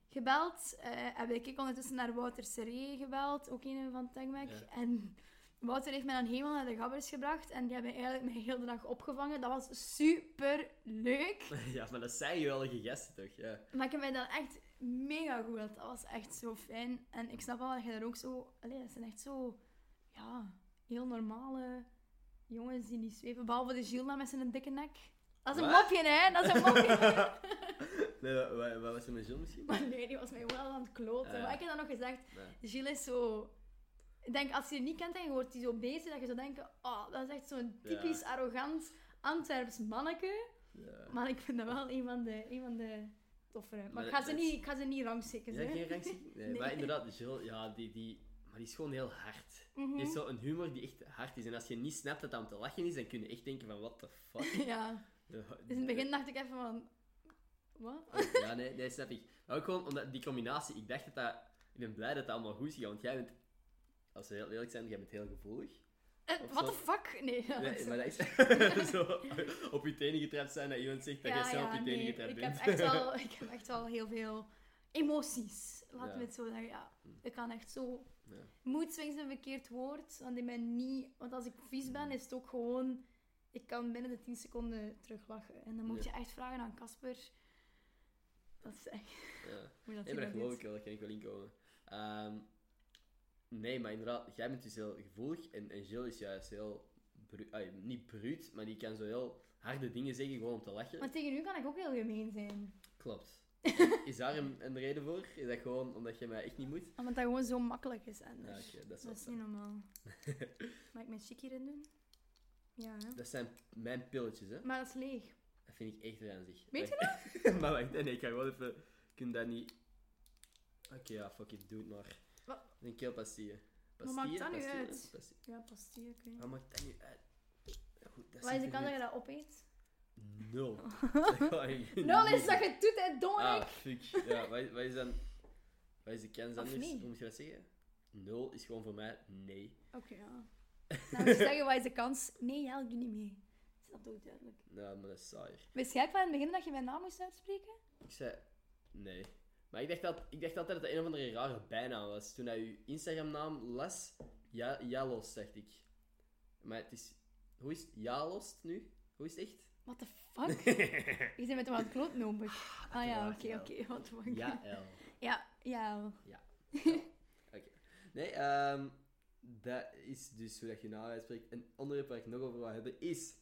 gebeld. Eh heb ik ondertussen naar Wouter Serré gebeld, ook een van Tagmac. Ja. En Wouter heeft mij dan helemaal naar de gabbers gebracht. En die hebben eigenlijk mij heel de dag opgevangen. Dat was super leuk. ja, maar dat zijn je wel gegessen, toch? Ja. Maar ik heb mij dan echt mega goed gehad. Dat was echt zo fijn. En ik snap wel dat je daar ook zo... Allee, dat zijn echt zo... Ja, heel normale jongens die niet zweven. Behalve de Gilles dan met zijn dikke nek. Dat is een Wat? mopje, hè? Dat is een <laughs> mopje. Nee, wa- wa- wat, was er met John misschien? maar nee, die was mij wel aan het kloten. Ah, ja. Maar ik heb dan nog gezegd... Nee. Gilles is zo... Ik denk, als je die niet kent en je hoort die zo bezig, dat je zo denkt... Oh, dat is echt zo'n Ja. typisch arrogant Antwerps manneke. Ja. Maar ik vind dat wel een van de... Een van de toffere. Maar Maar ik ga ze dat- niet, ik ga ze niet rangzikken, Ja, hè. geen reactie? Nee, Nee. Maar inderdaad, Jill, ja, die, die, maar die is gewoon heel hard. Mhm. Die heeft zo'n humor die echt hard is. En als je niet snapt dat dat om te lachen is, dan kun je echt denken van, what the <laughs> fuck? Ja, dus in het begin dacht ik even van... Wat? Oh, Ja, nee, nee, snap ik. Maar ook gewoon omdat die combinatie, ik dacht dat dat... Ik ben blij dat dat allemaal goed is gegaan, want jij bent... Als we heel eerlijk zijn, jij bent heel gevoelig. Eh, Of What zo. the fuck? Nee. <laughs> ja, Nee, zo. maar dat is... <laughs> <laughs> zo op je tenen getrapt zijn dat iemand zegt dat Ja, jij zelf op ja, je tenen nee, getrapt ik bent. heb, echt wel, ik heb echt wel heel veel emoties. Laten Ja. Hm. we het zo zeggen. Ja, ik kan echt zo... Ja. Mood swings een verkeerd woord, want ik ben niet... Want als ik vies Hm. ben, is het ook gewoon... Ik kan binnen de 10 seconden teruglachen. En dan moet Ja. je echt vragen aan Casper. Dat is echt... <laughs> Ja. Hoe dat Nee, maar hij dat dat geloof doet. ik wel, daar kan ik wel inkomen. Ehm nee, maar inderdaad, jij bent dus heel gevoelig en, en Gilles is juist heel, bru- ai, niet bruut, maar die kan zo heel harde dingen zeggen gewoon om te lachen. Maar tegen u kan ik ook heel gemeen zijn. Klopt. Is daar een, een reden voor? Is dat gewoon omdat je mij echt niet moet? Omdat dat gewoon zo makkelijk is. En dus- Ja, oké, dat is wel Dat is zo. niet <laughs> normaal. Mag ik mijn chic hierin doen? Ja, hè? Dat zijn mijn pilletjes, hè. Maar dat is leeg. Dat vind ik echt ranzig. Weet je dat? <laughs> maar wacht, nee, nee, ik ga gewoon even... Ik kan dat niet... Oké, ja, fuck it, doe het maar. Wat? Een keelpastille. Wat Pastille? maakt dat nu pastille, uit? pastille. Ah, Ja, pastille, ik weet niet. Wat maakt dat nu uit? Goed, dat Wat is vervelend. de kans dat je dat opeet? <laughs> Nul. Dat kan ik niet. Nul is dat je het doet, hè, Ah, Dominic. fuck. Ja, wat, wat is dan... Wat is de kans Of anders? niet? Hoe moet je dat zeggen? Nul is gewoon voor mij nee. <laughs> Oké, ja. Nou, ze zeggen, wat is de kans? Nee, ja, ik doe niet mee. Is dat doodduidelijk? Nou, maar dat is saaier. Wist jij van in het begin dat je mijn naam moest uitspreken? Ik zei nee. Maar ik dacht, dat, ik dacht altijd dat het een of andere rare bijnaam was. Toen hij uw Instagram-naam las, ja, Jalos, dacht ik. Maar het is... Hoe is het? Jalost nu? Hoe is het echt? What the fuck? <laughs> Je bent met hem aan het kloot noemen. Ah ja, oké, ja. oké. Wat de fuck? <laughs> Ja, L. <laughs> Ja, ja. Oké. Nee, ehm, dat is dus hoe dat je naam uitspreekt. Een onderwerp waar ik nog over wil hebben is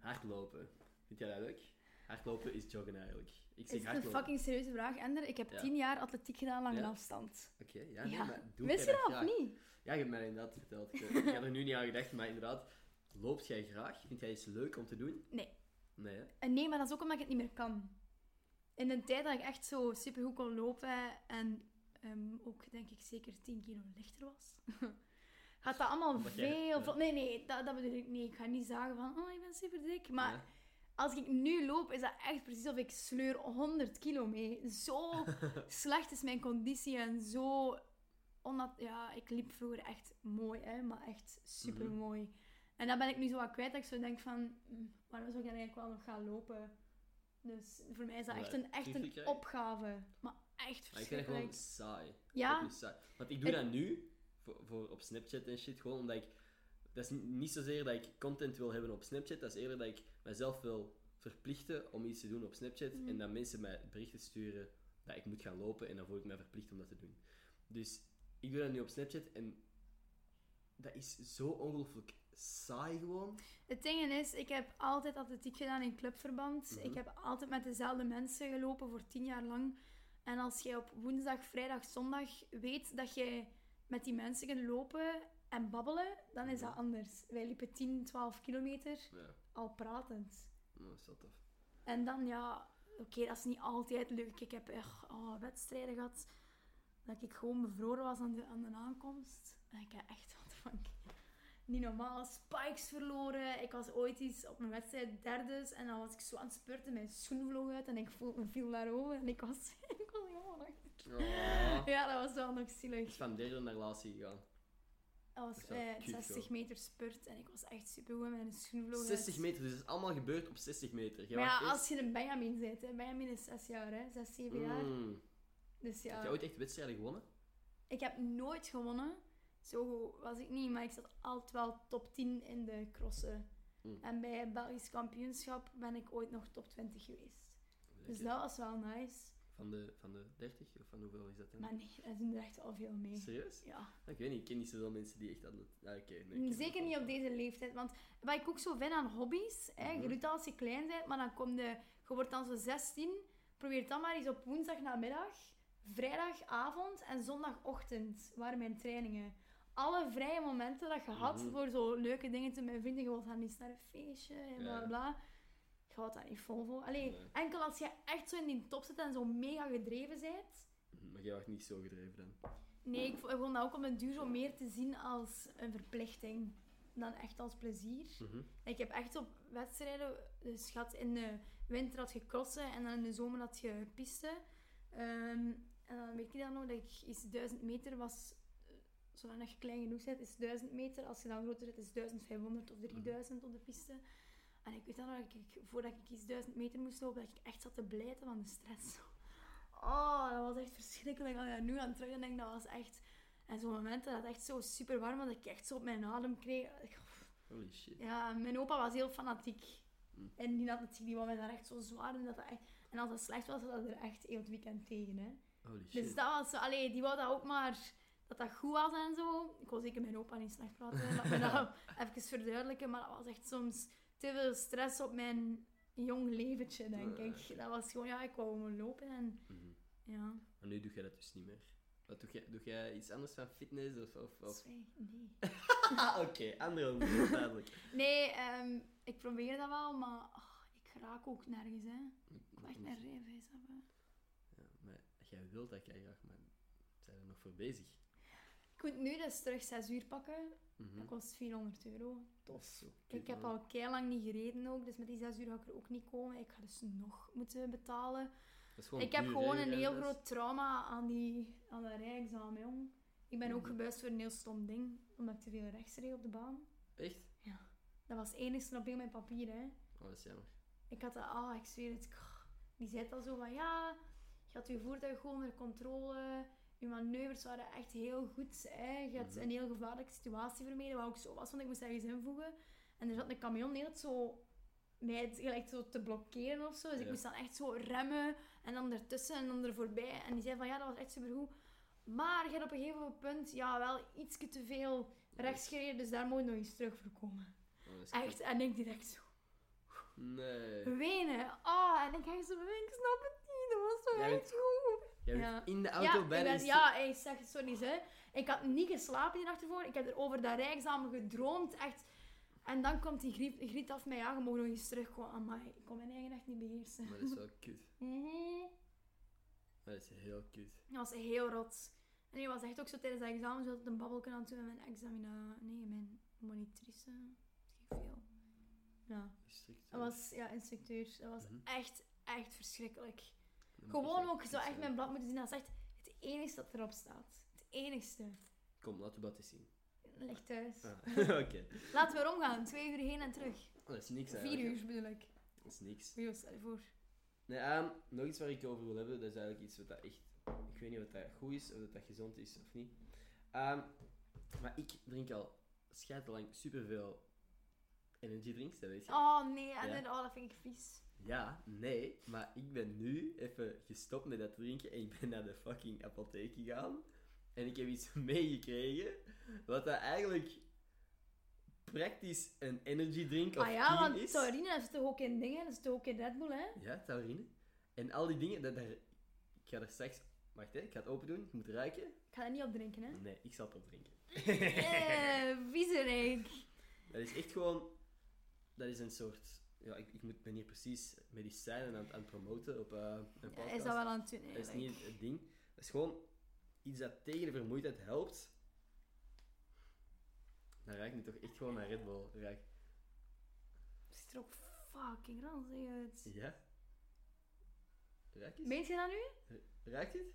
hardlopen. Vind jij dat leuk? Hardlopen is joggen eigenlijk. Ik zeg Is het een hardlopen. fucking serieuze vraag, Ender? Ik heb Ja. tien jaar atletiek gedaan, lange Ja. afstand. Oké, ja, nee, Ja. maar doe Wist je jij dat of graag? niet? Ja, je hebt mij inderdaad verteld. Ik, eh, ik had er nu niet aan gedacht, maar inderdaad. Loopt jij graag? Vind jij iets leuk om te doen? Nee. Nee, hè? En nee, maar dat is ook omdat ik het niet meer kan. In een tijd dat ik echt zo supergoed kon lopen en ehm, ook denk ik zeker 10 kilo lichter was, <laughs> gaat dat allemaal Omdat jij- veel. ja. vlot- Nee, nee, dat, dat bedoel ik niet. Ik ga niet zagen van, oh, ik ben super dik. Maar Ja. als ik nu loop, is dat echt precies of ik sleur 100 kilo mee. <laughs> Zo slecht is mijn conditie en zo. Omdat, ja, ik liep vroeger echt mooi, hè, maar echt super mooi. Mhm. En dat ben ik nu zo wat kwijt. Dat ik zo denk van, "Mm, waarom zou ik dan eigenlijk wel nog gaan lopen? Dus voor mij is dat Ja, echt een, echt griezelig, een hè? opgave. Maar echt Maar ik vind het gewoon verschrikkelijk. saai. Ja, Ook niet saai. Want ik doe Ik- dat nu voor, voor op Snapchat en shit gewoon omdat ik. Dat is ni- niet zozeer dat ik content wil hebben op Snapchat, dat is eerder dat ik mezelf wil verplichten om iets te doen op Snapchat Mhm. en dat mensen mij berichten sturen dat ik moet gaan lopen en dan voel ik mij verplicht om dat te doen. Dus ik doe dat nu op Snapchat en dat is zo ongelooflijk saai gewoon. Het ding is, ik heb altijd atletiek gedaan in clubverband. Mhm. Ik heb altijd met dezelfde mensen gelopen voor tien jaar lang. En als jij op woensdag, vrijdag, zondag weet dat jij met die mensen gaat lopen en babbelen, dan is dat Mhm. anders. Wij liepen 10, 12 kilometer Ja, al pratend. dat is wel tof. En dan, ja, oké, dat is niet altijd leuk. Ik heb echt oh, wedstrijden gehad dat ik gewoon bevroren was aan de, aan de aankomst. En ik heb echt <laughs> wat van niet normaal spikes verloren. Ik was ooit iets op mijn wedstrijd derdes en dan was ik zo aan het spurten, mijn schoen vloog uit en ik voel, me viel daarover en ik was, <laughs> ik was gewoon nog... Oh. Ja, dat was wel nog Ik zielig. is van derde naar laatste gegaan. Dat was Dat is wel eh, cute, 60 zo. meter spurt en ik was echt supergoed met mijn schoen vloog uit. 60 meter, dus het is allemaal gebeurd op 60 meter. Jij Maar was ja, eerst- als je een Benjamin bent, hè. Benjamin is 6 jaar, hè. 6, 7 jaar. Mm. Dus Heb ja. je ooit echt wedstrijden gewonnen? Ik heb nooit gewonnen. Zo goed was ik niet, maar ik zat altijd wel top 10 in de crossen. Mm. En bij het Belgisch kampioenschap ben ik ooit nog top 20 geweest. Dus Lekker. dat was wel nice. Van de, van de 30 of van hoeveel is dat dan? Maar nee, dat doen er echt al veel mee. Serieus? Ah, Ja. Ik weet niet, ik ken niet zoveel mensen die echt aan het. Ja, oké, nee, ik ken Mm, Zeker wel. niet op deze leeftijd. Want wat ik ook zo vind aan hobby's, hè, je Mhm. doet dat als je klein bent, maar dan kom je, je wordt dan zo 16. Probeer dan maar eens op woensdag namiddag, vrijdagavond en zondagochtend waren mijn trainingen. Alle vrije momenten dat je had Mhm. voor zo leuke dingen te mijn vrienden. Je wilt gaan eens naar een feestje en Ja, bla bla, ja. bla. Je houdt daar niet vol voor. Allee, Nee. enkel als je echt zo in die top zit en zo mega gedreven bent. Mhm, Maar jij wordt niet zo gedreven dan. Nee, ik vo- ik vond dat ook om het duur zo meer te zien als een verplichting dan echt als plezier. Mhm. Ik heb echt op wedstrijden, dus je had in de winter had je crossen en dan in de zomer had je piste. Ehm, en dan weet ik dan nog dat ik is 1000 meter was, eh, zolang dat je klein genoeg bent, is 1000 meter. Als je dan groter bent, is 1500 of 3000 op de piste. En ik weet dan nog dat ik, voordat ik iets 1000 meter moest lopen, dat ik echt zat te blijten van de stress. Oh, dat was echt verschrikkelijk. Als ik daar nu aan terug denk, dat was echt... En zo'n moment dat het echt zo super warm was, dat ik echt zo op mijn adem kreeg. Ik- Holy shit. ja, mijn opa was heel fanatiek. Mm. En die natuurlijk die wou mij daar echt zo zwaar doen. Dat dat echt... En als dat slecht was, zat dat er echt heel het weekend tegen. Hè. Holy shit. Dus dat was zo, allee, die wou dat ook maar dat dat goed was en zo. Ik wil zeker mijn opa niet slecht praten, laat me <laughs> dat even verduidelijken. Maar dat was echt soms te veel stress op mijn jong leventje, denk Ja, ik. Dat was gewoon, ja, ik wou gewoon lopen en Eh. Mhm. ja, Maar nu doe jij dat dus niet meer. Wat doe jij, doe jij iets anders van fitness of. of, <laughs> of... zwijg, dus nee. Ah, oké, andere onderwerpen, <laughs> duidelijk. Nee, ehm, ik probeer dat wel, maar ah, ik raak ook nergens, hè. Ik Mm, wil echt een rijbewijs hebben. Ja, maar jij wilt dat jij graag, maar zijn er nog voor bezig? Ik moet nu dus terug 6 uur pakken. Mhm. Dat kost 400 euro. Tof. Zo kut, Ik heb man. al kei lang niet gereden ook, dus met die 6 uur ga ik er ook niet komen. Ik ga dus nog moeten betalen. Dat is gewoon ik heb duur, gewoon hè, een ja, heel dat is- groot trauma aan, die, aan dat rijexamen, jong. Hm. Ik ben ook gebuist voor een heel stom ding, omdat ik te veel rechts reed op de baan. Echt? Dat was het enigste op heel mijn papier, hè. Oh, dat is jammer. Ik had dat, ah, ik zweer het. krrr. Die zei al zo van, ja, je had je voertuig gewoon onder controle. Je manoeuvres waren echt heel goed. Hè. Je had Mhm. een heel gevaarlijke situatie vermeden, wat ook zo was, want ik moest ergens invoegen. En er zat een camion heel zo mij t- gelijk zo te blokkeren of zo. Dus ik Ja. moest dan echt zo remmen en dan ertussen en dan er voorbij. En die zei van, ja, dat was echt supergoed. Maar je hebt op een gegeven punt, ja, wel iets te veel rechts gereden, dus daar moet je nog eens terug voor komen. Oh, dat is kut. Echt, en ik direct zo Nee. wenen. Oh, en ik denk zo, ik snap het niet, dat was zo Jij echt bent goed. Jij bent Ja. in de ja, auto ik bij de ben, instru- ja, ey, zeg het zo niet, hè. Ik had niet geslapen die nacht ervoor. Ik heb er over dat rijexamen gedroomd, echt. En dan komt die griet, griet af mij, ja, je mag nog eens terugkomen. Amai, ik kon mijn eigen echt niet beheersen. Maar dat is wel kut. Mhm. Dat is heel kut. Dat was heel rot. En je was echt ook zo tijdens dat examen, zo een babbelken aan het doen met mijn examina... Nee, mijn monitrice. Geen veel. Ja. Strikt, Dat was, ja, instructeur. Dat was Mhm. echt, echt verschrikkelijk. Dat moet Gewoon wel ook zo kut echt zijn. mijn blad moeten zien. Dat is echt het enige dat erop staat. Het enigste. Kom, laten we dat eens <laughs> zien. Ligt thuis. Ah, <laughs> Oké. Laten we erom gaan. Twee uur heen en terug. Oh, dat is niks Vier eigenlijk, hè. uur bedoel ik. Dat is niks. Jo, stel je voor. Nee, ehm, nog iets waar ik over wil hebben, dat is eigenlijk iets wat dat echt... Ik weet niet of dat goed is, of dat, dat gezond is of niet. Ehm, maar ik drink al scheitelang superveel energy drinks, dat weet je. Oh nee, en dan- oh, dat vind ik vies. Ja, nee, maar ik ben nu even gestopt met dat drinken en ik ben naar de fucking apotheek gegaan. En ik heb iets <laughs> meegekregen, wat dat eigenlijk praktisch een energy drink of Ah ja, tea want is. taurine dat zit toch ook in dingen? Dat zit toch ook in Red Bull, hè? Ja, taurine. En al die dingen, dat, daar- ik ga er straks... Wacht, hè, ik ga het open doen, ik moet ruiken. Ik ga dat niet opdrinken, <laughs> hè? Nee, ik zal het opdrinken. Eh, viezerik. Dat is echt gewoon... Dat is een soort... Ja, ik, ik moet, ben hier precies medicijnen aan, het- aan het promoten op eh, een Ja, podcast. is dat wel aan het doen, Dat is eigenlijk? niet het ding. Dat is gewoon iets dat tegen de vermoeidheid helpt. Dan ruik ik nu toch echt gewoon naar Red Bull. Ruik. Ziet er ook fucking ranzig uit. Ja? Ruik eens. Meent je dat nu? Ruikt <laughs> het?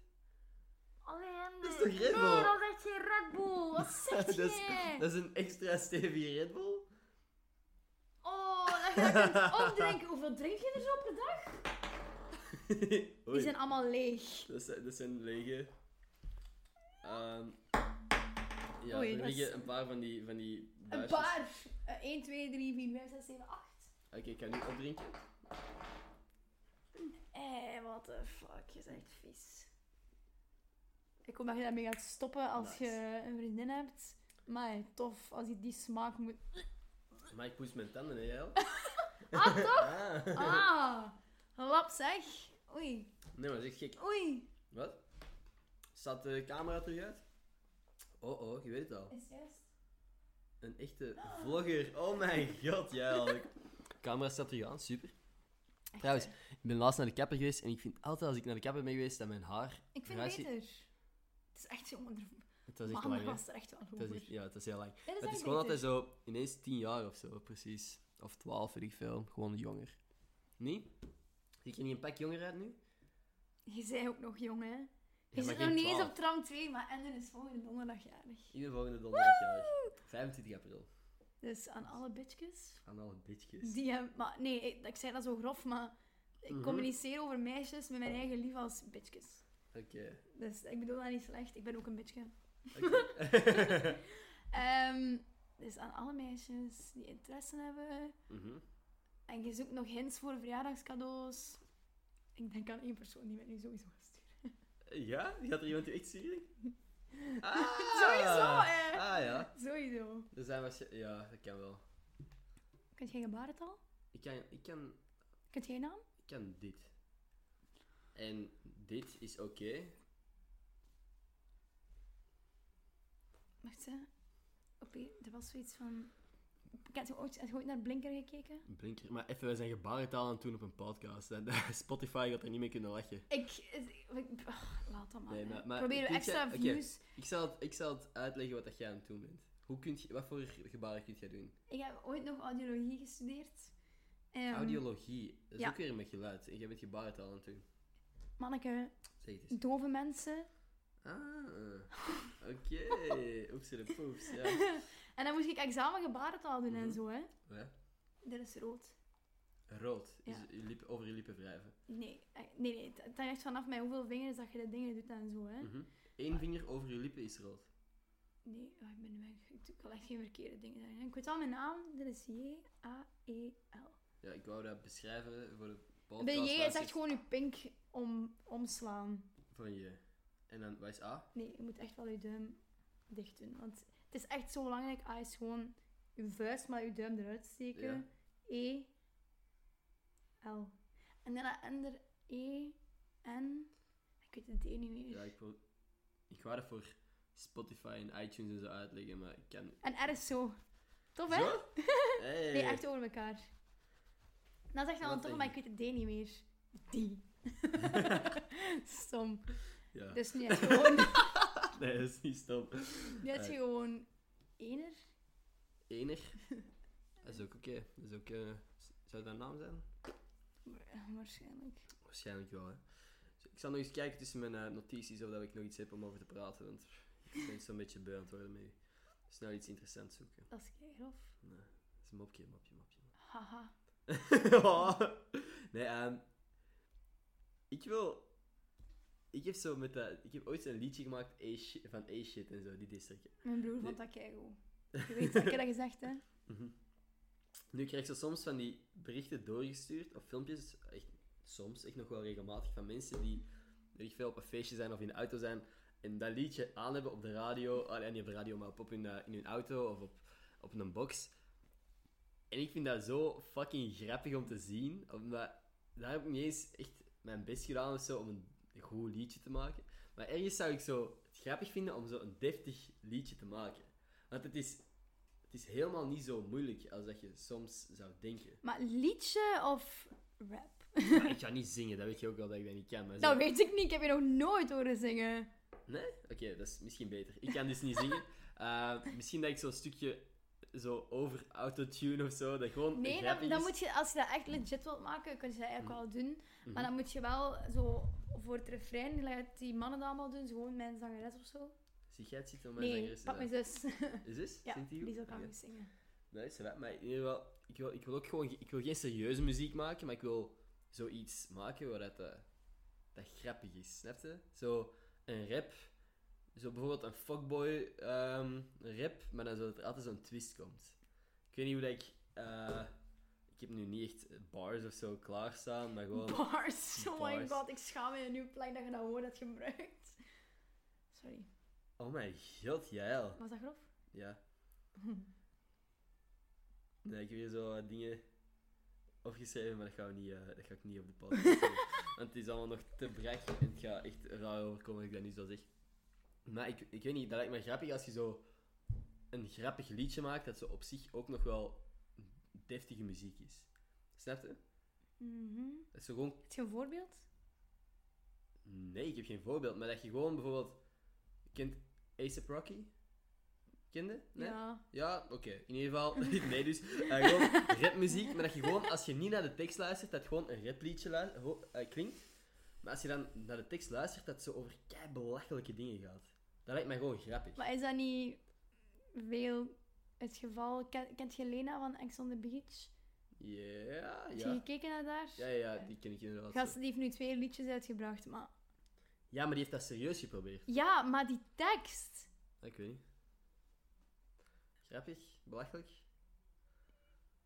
Alleen. Dat is toch Red Bull? Nee, dat is echt geen Red Bull. Wat <laughs> zeg dat, je? is, dat is een extra stevige Red Bull. <laughs> Oh, dat ga ik eens opdrinken. Hoeveel drink je er zo per dag? Oei. Die zijn allemaal leeg. Dat, zijn, dat zijn lege. Ehm, ja, Oei, er dat is- liggen een paar van die, van die Een buisjes. paar. Eh, 1, 2, 3, 4, 5, 6, 7, 8. Oké, ik ga nu opdrinken. Eh, what the fuck. Je bent echt vies. Ik hoop dat je daarmee gaat stoppen als Nice. je een vriendin hebt. Maar tof, als je die smaak moet... <laughs> Maar ik poets mijn tanden, hè, jij al? <laughs> Ah, toch? <laughs> Ah. Ah, lap zeg. Oei, Nee, maar dat is echt gek. oei. Wat? Staat de camera terug uit? Oh oh, je weet het al. Is juist. Een echte vlogger. Oh mijn god, ja. al. camera staat terug aan, super. Trouwens, ik ben laatst naar de kapper geweest en ik vind altijd als ik naar de kapper ben geweest dat mijn haar. Ik vind het Ruist- beter. Het is echt zo wonderful. Het was echt Maar lang, anders hè? was er echt wel goed Het voor. is echt- ja, het is heel lang. Dit is Het echt is gewoon beter. altijd zo ineens 10 jaar of zo, precies. Of 12, weet ik veel. Gewoon jonger. Nee? Zie ik er niet een pak jonger uit nu? Je bent ook nog jong, hè? Je maar zit geen nog niet 12. eens op tram 2, maar Ender is volgende donderdag jarig. Iedere volgende donderdag jarig. 25 april. Dus aan alle bitches. Aan alle bitches. Die hem, maar nee, ik, ik zei dat zo grof, maar ik Mhm. communiceer over meisjes met mijn eigen lief als bitches. Oké. Dus ik bedoel dat niet slecht, ik ben ook een bitchke. Oké. <laughs> Ehm, dus aan alle meisjes die interesse hebben. Mhm. En je zoekt nog hints voor verjaardagscadeaus. Ik denk aan één persoon die mij nu sowieso gaat sturen. Ja? Gaat er iemand die echt zielig? <laughs> Ah! Sowieso, hè. Ah ja. Sowieso. Er zijn waarschijnlijk... Ja, dat kan wel. Kunt jij gebarentaal? Ik kan, ik kan, Kunt jij naam? ik kan dit. En dit is oké. Wacht, hè. Oké, er was zoiets van... Heb je ooit, heb je ooit naar Blinker gekeken? Blinker. Maar even, wij zijn gebarentaal aan het doen op een podcast. En <laughs> eh, Spotify gaat er niet mee kunnen lachen. Ik... ik- ik- ach, laat dat maar. Nee, hè. maar- maar Proberen we weet je- extra oké. views... Ik zal het, ik zal het uitleggen wat dat jij aan het doen bent. Hoe kunt je, wat voor gebaren kunt jij doen? Ik heb ooit nog audiologie gestudeerd. Ehm, Audiologie. Dat is ja. ook weer met geluid. En jij bent gebarentaal aan het doen. Manneke, Zeg het eens. dove mensen. Ah, <laughs> oké. Oeps, de poeps, ja. En dan moest ik examen gebarentaal doen en Mhm. zo, hè. Ja. Dat is rood. Rood. Is Ja. je lippen- over je lippen wrijven. Nee, eh, nee, nee. Het het hangt echt vanaf met hoeveel vingers dat je de dingen doet en zo, hè. Mhm. Eén vinger over je lippen is rood. Nee, oh, ik ben weg. Ik doe- ik wil echt geen verkeerde dingen zeggen. hè. Ik weet al mijn naam. Dit is E J-A-E-L. Ja, ik wou dat beschrijven voor de podcast. Bij J is echt luisteraars. gewoon je pink om, omslaan. Voor een je. En dan, wat is A? Nee, je moet echt wel je duim dicht doen. Want het is echt zo belangrijk. A is gewoon je vuist, maar je duim eruit steken. E. L. En daarna ander E. N. Ik weet het D niet meer. Ja, ik wil... Ik wou dat voor Spotify en iTunes en zo uitleggen, maar ik kan... En R is zo. Tof, hè? Zo? Hey. Nee, echt over elkaar. Dat is echt wel Wat een denk tof, maar ik je? weet het D niet meer. Die. <laughs> Stom. Ja. Dus nu heb je gewoon, Nee, dat is niet stom. nu heb je Eh. gewoon ener. Enig. Dat is ook oké. Dat is ook... eh, Zou dat een naam zijn? <laughs> Waarschijnlijk. Waarschijnlijk wel, hè. Dus ik zal nog eens kijken tussen mijn eh, notities of dat ik nog iets heb om over te praten, want ik ben zo'n beetje beu aan het worden met u. Snel iets interessants zoeken. Dat is keigrof. Nee, dat is een mopje, mopje, mopje. Haha. Oh. <laughs> nee, ehm, ik wil... Ik heb, zo met dat, ik heb ooit een liedje gemaakt eh, shi- van A-shit en zo, die district. Mijn broer Nee. vond dat <laughs> keigoed. Je weet dat ik dat gezegd hè? Mhm. Nu krijg je soms van die berichten doorgestuurd, of filmpjes, echt soms, echt nog wel regelmatig, van mensen die erg veel op een feestje zijn of in de auto zijn en dat liedje aan hebben op de radio, ah, nee, niet op de radio, maar op, op hun, eh, in hun auto of op, op een box. En ik vind dat zo fucking grappig om te zien, omdat daar heb ik niet eens echt mijn best gedaan of zo om een goed liedje te maken. Maar ergens zou ik zo het grappig vinden om zo een deftig liedje te maken. Want het is het is helemaal niet zo moeilijk als dat je soms zou <laughs> denken. Maar liedje of rap? Ja, ik ga niet zingen, dat weet je ook wel dat ik dat niet kan. Maar zo- Dat weet ik niet, ik heb je nog nooit horen zingen. Nee? Oké, dat is misschien beter. Ik kan dus niet zingen. <laughs> Eh, misschien dat ik zo'n stukje zo over autotune of zo, dat gewoon Nee, grappig dan, dan is. Mm. moet je, als je dat echt legit wilt maken, kun je dat eigenlijk wel doen. Maar Mhm. dan moet je wel zo voor het refrein, laat die mannen dat allemaal doen, zo gewoon mijn zangeres of zo. Zie jij het zitten om mijn Nee, zangeres te pak mijn zijn? zus. eh. Is dit? <laughs> ja, Zingt goed? die zal kan Oké. niet zingen. Nee, is wel. Maar in ieder geval, ik wil, ik wil ook gewoon... ge- Ik wil geen serieuze muziek maken, maar ik wil zoiets maken waar dat, eh, dat grappig is. Snap je? Zo een rap. Zo bijvoorbeeld een fuckboy ehm, rap, maar dan zo dat er altijd zo'n twist komt. Ik weet niet hoe dat ik... eh, ik heb nu niet echt bars of zo klaarstaan, maar gewoon... <laughs> Bars, oh my Bars. god, ik schaam me nu plek dat je dat woord hebt gebruikt. Sorry, Oh mijn god, jijl. was dat grof? Ja. Nee, ik heb hier zo wat dingen opgeschreven, maar dat, gaan we niet, eh, dat ga ik niet op de podcast doen. Want het is allemaal nog te brak en het gaat echt raar overkomen als ik dat nu zo zeg. Maar ik, ik weet niet, dat lijkt me grappig als je zo een grappig liedje maakt dat zo op zich ook nog wel deftige muziek is. Snap je? Mhm. Dat is zo gewoon Heb je een voorbeeld? Nee, ik heb geen voorbeeld, maar dat je gewoon bijvoorbeeld... Kent A$AP Rocky? Kende? Nee? Ja. Ja, oké. In ieder geval, <laughs> nee dus, eh, gewoon rapmuziek, maar dat je gewoon, als je niet naar de tekst luistert, dat gewoon een rapliedje lu- ho- eh, klinkt. Maar als je dan naar de tekst luistert, dat het zo over kei belachelijke dingen gaat. Dat lijkt mij gewoon grappig. Maar is dat niet veel het geval? Ken- Kent je Lena van Ex on the Beach? Ja, Heb je ja. gekeken naar daar? Ja, ja, die ken ik inderdaad. Gast, zo. die heeft nu twee liedjes uitgebracht, maar... Ja, maar die heeft dat serieus geprobeerd. Ja, maar die tekst... Ik weet niet. Grappig? Belachelijk?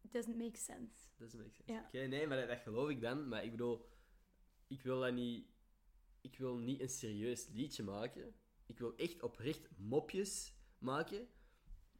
It doesn't make sense. Dat is een beetje Ja. Oké, nee, maar dat, dat geloof ik dan. Maar ik bedoel, ik wil dat niet... Ik wil niet een serieus liedje maken. Ik wil echt oprecht mopjes maken.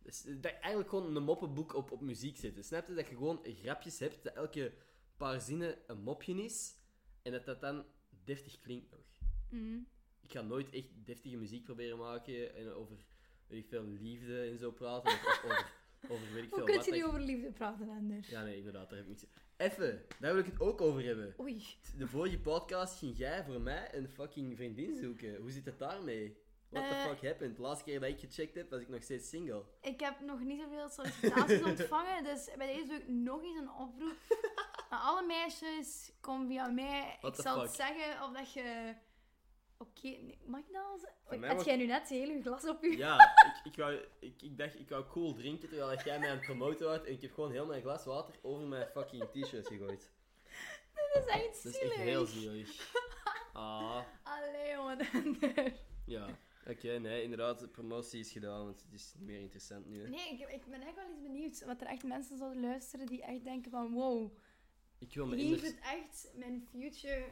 Dus, eh, dat je eigenlijk gewoon een moppenboek op, op muziek zetten. Snap je? Dat je gewoon grapjes hebt, dat elke paar zinnen een mopje is. En dat dat dan deftig klinkt nog. Mhm. Ik ga nooit echt deftige muziek proberen maken en over weet ik veel liefde en zo praten. Of, of over Over weet ik veel Hoe kun wat, je dat nu ik- over liefde praten, Ander? Ja, nee, inderdaad, daar heb ik niks... Even, daar wil ik het ook over hebben. Oei. De vorige podcast ging jij voor mij een fucking vriendin zoeken. Hoe zit het daarmee? What Eh. the fuck happened? De laatste keer dat ik gecheckt heb, was ik nog steeds single. Ik heb nog niet zoveel <laughs> sollicitaties ontvangen, dus bij deze doe ik nog eens een oproep. Aan alle meisjes, kom via mij. What ik the zal het fuck? zeggen of dat je... Oké, nee, mag ik dat al Van zeggen? mij Had mag- jij nu net het hele glas op je? Ja, ik, ik, wou, ik, ik dacht, ik wou cool drinken terwijl dat jij mij aan het promoten was. En ik heb gewoon heel mijn glas water over mijn fucking t-shirt gegooid. Dat is echt Dat zielig. is echt heel zielig. <laughs> Ah, Allee, jongen. <laughs> Ander. ja. Oké, nee, inderdaad, de promotie is gedaan, want het is niet meer interessant nu. hè. Nee, ik, ik ben echt wel eens benieuwd wat er echt mensen zouden luisteren die echt denken van wow, Ik wil me hier immers... zit echt mijn future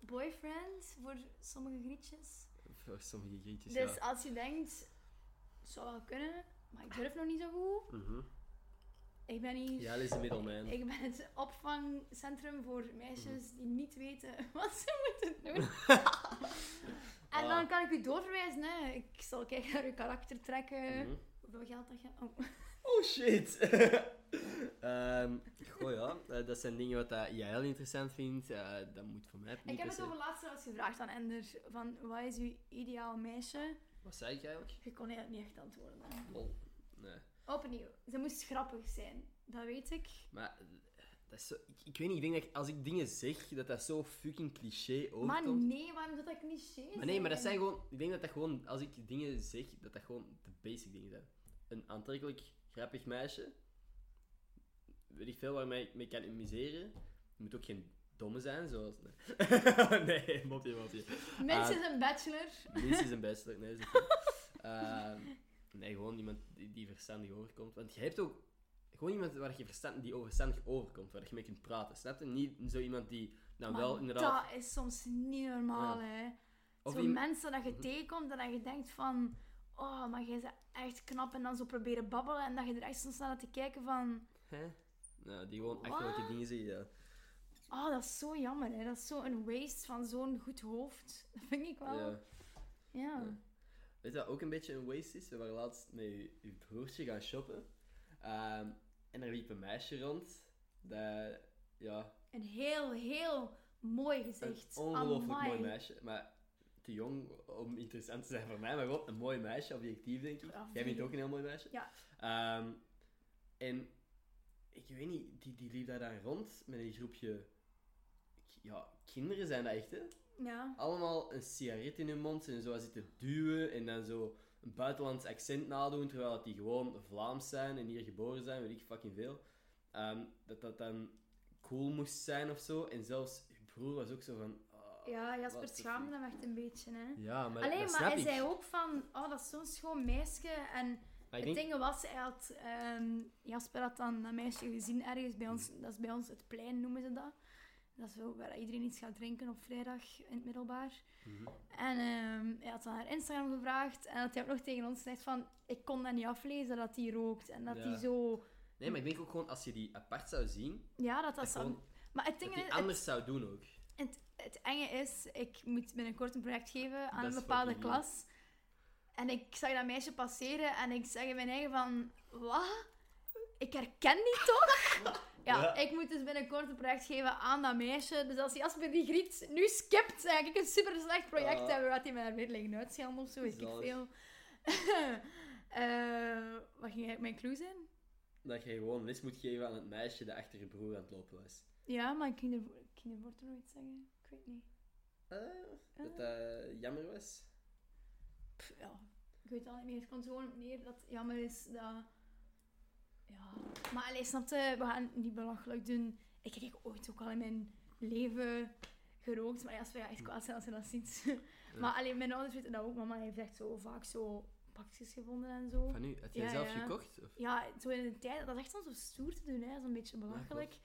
boyfriend voor sommige grietjes. Voor Oh, sommige grietjes, Dus ja. als je denkt, het zou wel kunnen, maar ik durf nog niet zo goed. Mhm. Ik ben hier. Ja, dat is de middelman. <laughs> Mhm. Ik ben het opvangcentrum voor meisjes die niet weten <laughs> wat ze moeten <laughs> doen. en dan Ah. kan ik u doorverwijzen. Hè. Ik zal kijken naar uw karakter trekken. Mhm. Hoeveel geld dat je... Oh. Oh shit! <laughs> Ehm goh ja, eh, dat zijn dingen wat dat jij heel interessant vindt. Eh, dat moet voor mij niet Ik heb per het se- over laatst zelfs gevraagd aan Ender. Van, wat is uw ideaal meisje? Wat zei ik eigenlijk? Je kon eigenlijk niet echt antwoorden. hè. Lol. Nee. Opnieuw. Ze moest grappig zijn. Dat weet ik. Maar eh, dat is zo, ik, ik weet niet, ik denk dat ik- als ik dingen zeg, dat dat zo fucking cliché Maar overkomt. nee, waarom zou dat cliché zijn? Maar nee, maar dat zijn gewoon... Ik denk dat dat gewoon... Als ik dingen zeg, dat dat gewoon de basic dingen zijn. Een aantrekkelijk, grappig meisje. Weet ik veel waarmee ik mee kan amuseren. Je moet ook geen domme zijn, zoals... <laughs> Nee, nee mopje, mopje. Mens Ah. is een bachelor. Minstens een bachelor, nee, dat is niet goed. <laughs> Ehm, Nee, gewoon iemand die, die verstandig overkomt. Want je hebt ook gewoon iemand waar je verstand, die verstandig overkomt, waar je mee kunt praten, snap je? Niet zo iemand die dan Maar wel inderdaad... dat is soms niet normaal, Ja. hè. Of Mhm. Zo'n iem- mensen dat je tegenkomt en dat je denkt van... Oh, maar jij bent echt knap. En dan zo proberen babbelen. En dat je er echt soms naar laat te kijken van... Hè? Nou, die gewoon achterlijke Wat? dingen zeggen, ja. Oh, dat is zo jammer, hè. Dat is zo een waste van zo'n goed hoofd. <laughs> Dat vind ik wel... ja. ja. Ja. Weet je wat ook een beetje een waste is? We waren laatst met uw, uw broertje gaan shoppen. Ehm, en er liep een meisje rond. Dat, ja, Een heel, heel mooi een gezicht. ongelooflijk Amai. mooi meisje. Maar te jong om interessant te zijn voor mij, maar wel een mooi meisje, objectief denk ik. Ja, Jij vind vindt ik. ook een heel mooi meisje. Ja. Ehm, en ik weet niet, die, die liep daar dan rond met een groepje. Ja, kinderen zijn dat echt, hè? Ja. Allemaal een sigaret in hun mond en zo aan zitten duwen en dan zo een buitenlands accent nadoen, terwijl dat die gewoon Vlaams zijn en hier geboren zijn, weet ik fucking veel. Ehm, dat dat dan cool moest zijn of zo. En zelfs je broer was ook zo van. ah, Ja, Jasper wat de schaamde fuck. hem echt een beetje, hè. Ja, maar Alleen, dat maar snap hij ik. zei ook van... Oh, dat is zo'n schoon meisje. En Maar ik Het denk, ding was, hij had, ehm, Jasper had dan dat meisje gezien ergens bij Mm. ons. Dat is bij ons het plein, noemen ze dat. Dat is zo waar iedereen iets gaat drinken op vrijdag in het middelbaar. Mhm. En ehm, hij had dan haar Instagram gevraagd. En dat hij ook nog tegen ons zegt van... Ik kon dat niet aflezen, dat hij rookt. En dat Ja. hij zo... Nee, maar ik denk ook gewoon als je die apart zou zien, Ja, dat dat dat, zou... gewoon, Maar het dat ding die is... anders zou doen ook. Het, het enge is, ik moet binnenkort een project geven aan Dat een is bepaalde fucking eng. klas. En ik zag dat meisje passeren en ik zeg in mijn eigen van... Wat? Ik herken die <laughs> toch? Ja, Ja. ik moet dus binnenkort een project geven aan dat meisje. Dus als Jasper die griet nu skipt, dan ga ik een super slecht project Ah. hebben. Wat hij mij daar weer liggen uitschelden of zo, weet ik Zalig. veel. <laughs> Eh, wat ging eigenlijk mijn clue zijn? Dat je gewoon les moet geven aan het meisje dat achter je broer aan het lopen was. Ja, maar ik ging ervoor, ik ging ervoor toen nog iets zeggen. Ik weet niet. Eh, dat dat jammer was. Pff, ja, ik weet het al niet meer. Het komt gewoon op neer dat het jammer is dat... Ja. Maar allee, snapte, we gaan het niet belachelijk doen. Ik heb ooit ook al in mijn leven gerookt. Maar ja, als we echt kwaad zijn als je dat ziet. <laughs> Maar alleen mijn ouders weten dat ook. Mama heeft echt zo vaak zo pakjes gevonden en zo. Van nu, had jij Oh. Ja, zelf ja. gekocht? Of? Ja, zo in de tijd, dat is echt soms zo stoer te doen, hè. Dat is een beetje belachelijk.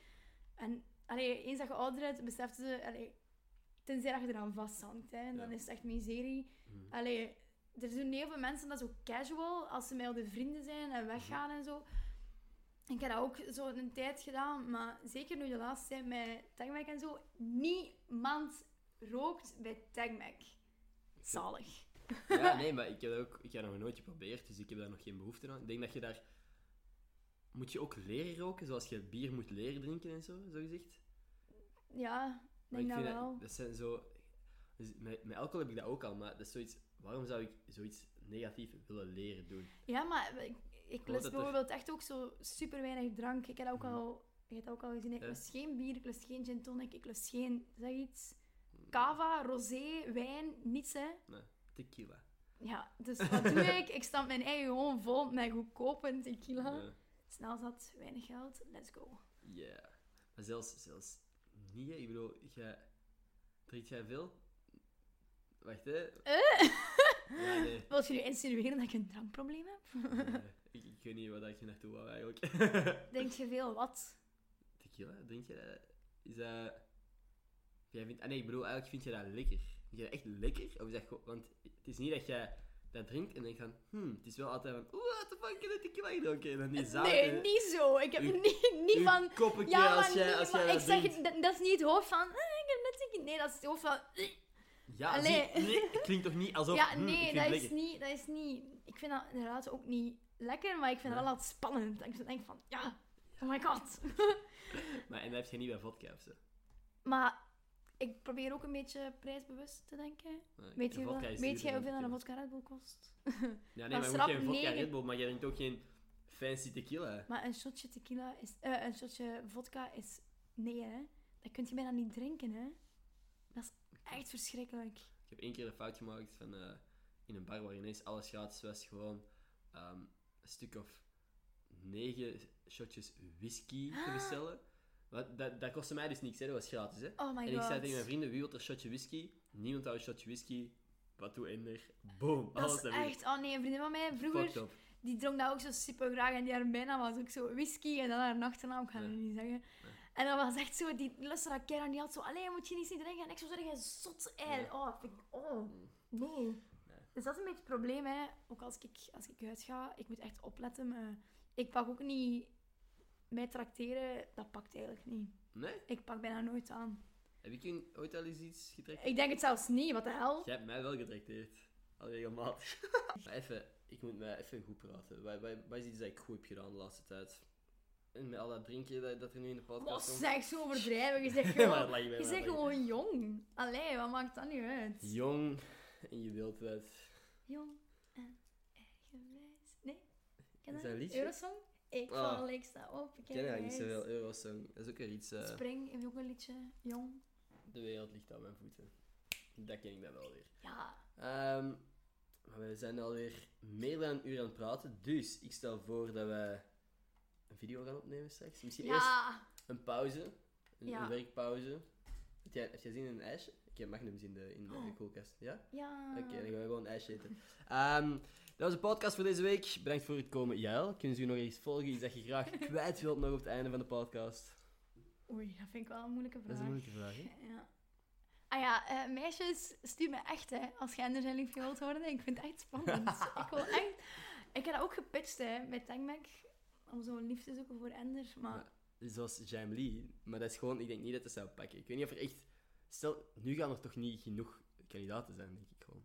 en allee, eens dat je ouder bent, beseften ze... Allee, tenzij dat je eraan vasthangt, hè. Dan Ja. is het echt miserie. Mhm. Allee, er zijn heel veel mensen dat zo casual, als ze met oude vrienden zijn Mhm. en weggaan en zo. Ik heb dat ook zo een tijd gedaan, maar zeker nu de laatste tijd met Tagmac en zo. Niemand rookt bij Tagmac. Zalig. <laughs> Ja, nee, maar ik heb, dat ook, ik heb dat nog nooit geprobeerd, dus ik heb daar nog geen behoefte aan. Ik denk dat je daar Moet je ook leren roken, zoals je bier moet leren drinken en zo, zo gezegd? Ja, ik Maar denk dat vind wel. Dat, dat zijn zo... dus Met, met alcohol heb ik dat ook al, maar dat is zoiets... Waarom zou ik zoiets negatief willen leren doen? Ja, maar ik, ik dat lust er- bijvoorbeeld echt ook zo super weinig drank. Ik heb dat ook Mhm. al, je hebt dat ook al gezien. Ik Ja. lust geen bier, ik lust geen gin tonic, ik lust geen, zeg iets. Cava, rosé, wijn, niets hè. Tequila. Ja, dus wat <laughs> doe ik? Ik stamp mijn eigen gewoon vol met goedkope tequila. Ja. Snel zat, weinig geld, let's go. Ja. Maar zelfs, zelfs niet, hè. Ik bedoel, jij... Drinkt jij veel? Wacht, hè. Ja, nee. Eh? <laughs> Wilt je nu insinueren dat ik een drankprobleem heb? Nee. ik, ik weet niet waar ik je naartoe wou, eigenlijk. <laughs> Denk je veel wat? Tequila, drink je dat? Is dat... Jij vindt... Ah nee, ik bedoel, eigenlijk vind je dat lekker. Vind je dat echt lekker? Of is dat gewoon... Want het is niet dat jij dat drinkt en denkt van... Hmm, het is wel altijd van... Oeh, what the fuck, ik heb net tequila gedronken. En dan die zout nee, en- niet zo. Ik heb U- niet, niet uw van... koppetje Ja, als maar jij, niet, als maar jij ik dat zeg, drinkt. dat, dat is niet het hoofd van... "Ah, ik heb net tequila." Nee, dat is het hoofd van... Ja, zie, Allee. nee, het klinkt toch niet alsof... ja, hmm, ik nee, vind dat het is, lekker. niet, dat is niet... Ik vind dat inderdaad ook niet lekker, maar ik Ja. vind dat wel altijd spannend. Ik denk van, ja, oh my god. Maar en dat heb je niet bij vodka of zo. maar ik probeer ook een beetje prijsbewust te denken. Maar Weet een je wel- vodka is weet duurder jij dan hoeveel een tequila. vodka Red Bull kost? Ja, nee, Maar maar, strap moet je een vodka negen- Red Bull, maar jij drinkt ook geen fancy tequila. Maar een shotje tequila is... eh, een shotje vodka is... Nee, hè. Dat kun je bijna niet drinken, hè. Dat is echt verschrikkelijk. Ik heb één keer een fout gemaakt van eh, in een bar waar ineens alles gratis was, gewoon ehm, een stuk of negen shotjes whisky Ah. te bestellen. Wat, dat, dat kostte mij dus niks, hè? dat was gratis. Hè? Oh my en god. ik zei tegen mijn vrienden, wie wil er een shotje whisky? Niemand houdt een shotje whisky. Wat doe er? Boom, Dat alles is echt... Oh nee, een vriendin van mij Fucked vroeger, up. die dronk dat ook zo super graag. En die haar bijnaam was ook zo whisky. En dan haar achternaam, ik ga het Ja. niet zeggen. En dat was echt zo, die lustte dat keer aan die had zo... Allee, moet je niet zien drinken? En ik zou zeggen, zot ei. Ja. Oh, vind ik- oh, nee. Dus dat is een beetje het probleem, hè. Ook als ik, als ik uitga, ik moet echt opletten. Maar ik pak ook niet... Mij trakteren, dat pakt eigenlijk niet. Nee? Ik pak bijna nooit aan. Heb ik je ooit al eens iets getrekt? Ik denk het zelfs niet, wat de hel. Jij hebt mij wel getrakteerd. Al regelmatig. <laughs> maar even, ik moet mij even goed praten. Wat, wat, wat is iets dat ik goed heb gedaan de laatste tijd? En met al dat drinken dat, dat er nu in de Wat podcast zeg, zo <laughs> overdrijven. Je zegt Maar dat gewoon, lag je bij je mij, zegt dat lag gewoon jong. Allee, wat maakt dat nu je- uit? Jong en je wilt wat. Jong en eigenwijs. Nee? Ken Is je dat een liedje? Eurosong? Ik Ah. val, ik sta op, ik Ik ken eigenlijk niet wijs. zoveel Eurosong. Dat is ook weer iets... eh, Spring, heeft ook een liedje. Jong. de wereld ligt aan mijn voeten. Dat ken ik dat wel weer. Ja. Ehm, maar we zijn alweer meer dan een uur aan het praten. Dus ik stel voor dat we een video gaan opnemen straks. Misschien eerst Ja. Een pauze. Een, Ja. een werkpauze. Heb jij, heb jij zin in een ijsje? Ik heb Magnum in de, in de Oh. Ah. koelkast. Ja? Ja. Oké, dan gaan we gewoon een ijsje eten. Ehm, dat was de podcast voor deze week. Bedankt voor het komen. Jael, kunnen ze u nog eens volgen? Iets dat je <laughs> graag kwijt wilt nog op het einde van de podcast? Oei, dat vind ik wel een moeilijke Dat is vraag. een moeilijke vraag, hè? Ja. Ah ja, eh, meisjes, stuur me echt, hè. Als jij anders en lief gewild worden, ik vind het echt <laughs> spannend. ik wil echt... Ik heb dat ook gepitcht, hè, bij Tangmac. Om zo'n lief te zoeken voor Ender, maar... Zoals Jam Lee. Maar dat is gewoon... Ik denk niet dat dat zou pakken. Ik weet niet of er echt... Stel, nu gaan er toch niet genoeg kandidaten zijn, denk ik gewoon.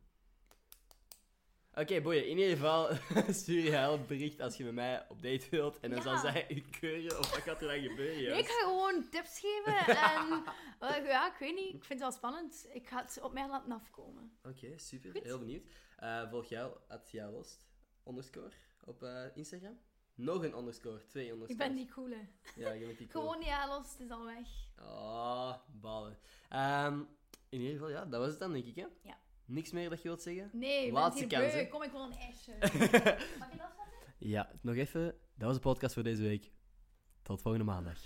Oké, boeien. In ieder geval, <laughs> stuur je haar een bericht als je met mij op date wilt. En dan Ja. zal zij u keuren of wat gaat er dan gebeuren, Nee, Joost? ik ga gewoon tips geven en... eh, ja, ik weet niet. Ik vind het wel spannend. Ik ga het op mij laten afkomen. Oké, super. Goed. Heel benieuwd. Eh, volg jou, at joulost, underscore, op eh, Instagram. Nog een underscore, twee underscores. Ik ben die coole. Ja, je bent die cool. Gewoon, ja, los, het is al weg. Ah, balen. Ehm, in ieder geval, ja, dat was het dan, denk ik, hè? Ja. Niks meer dat je wilt zeggen? Nee, ik ben Laatste hier kans, beu. hè. Kom, ik wil een ijsje. Mag ik dat Ja, nog even. Dat was de podcast voor deze week. Tot volgende maandag.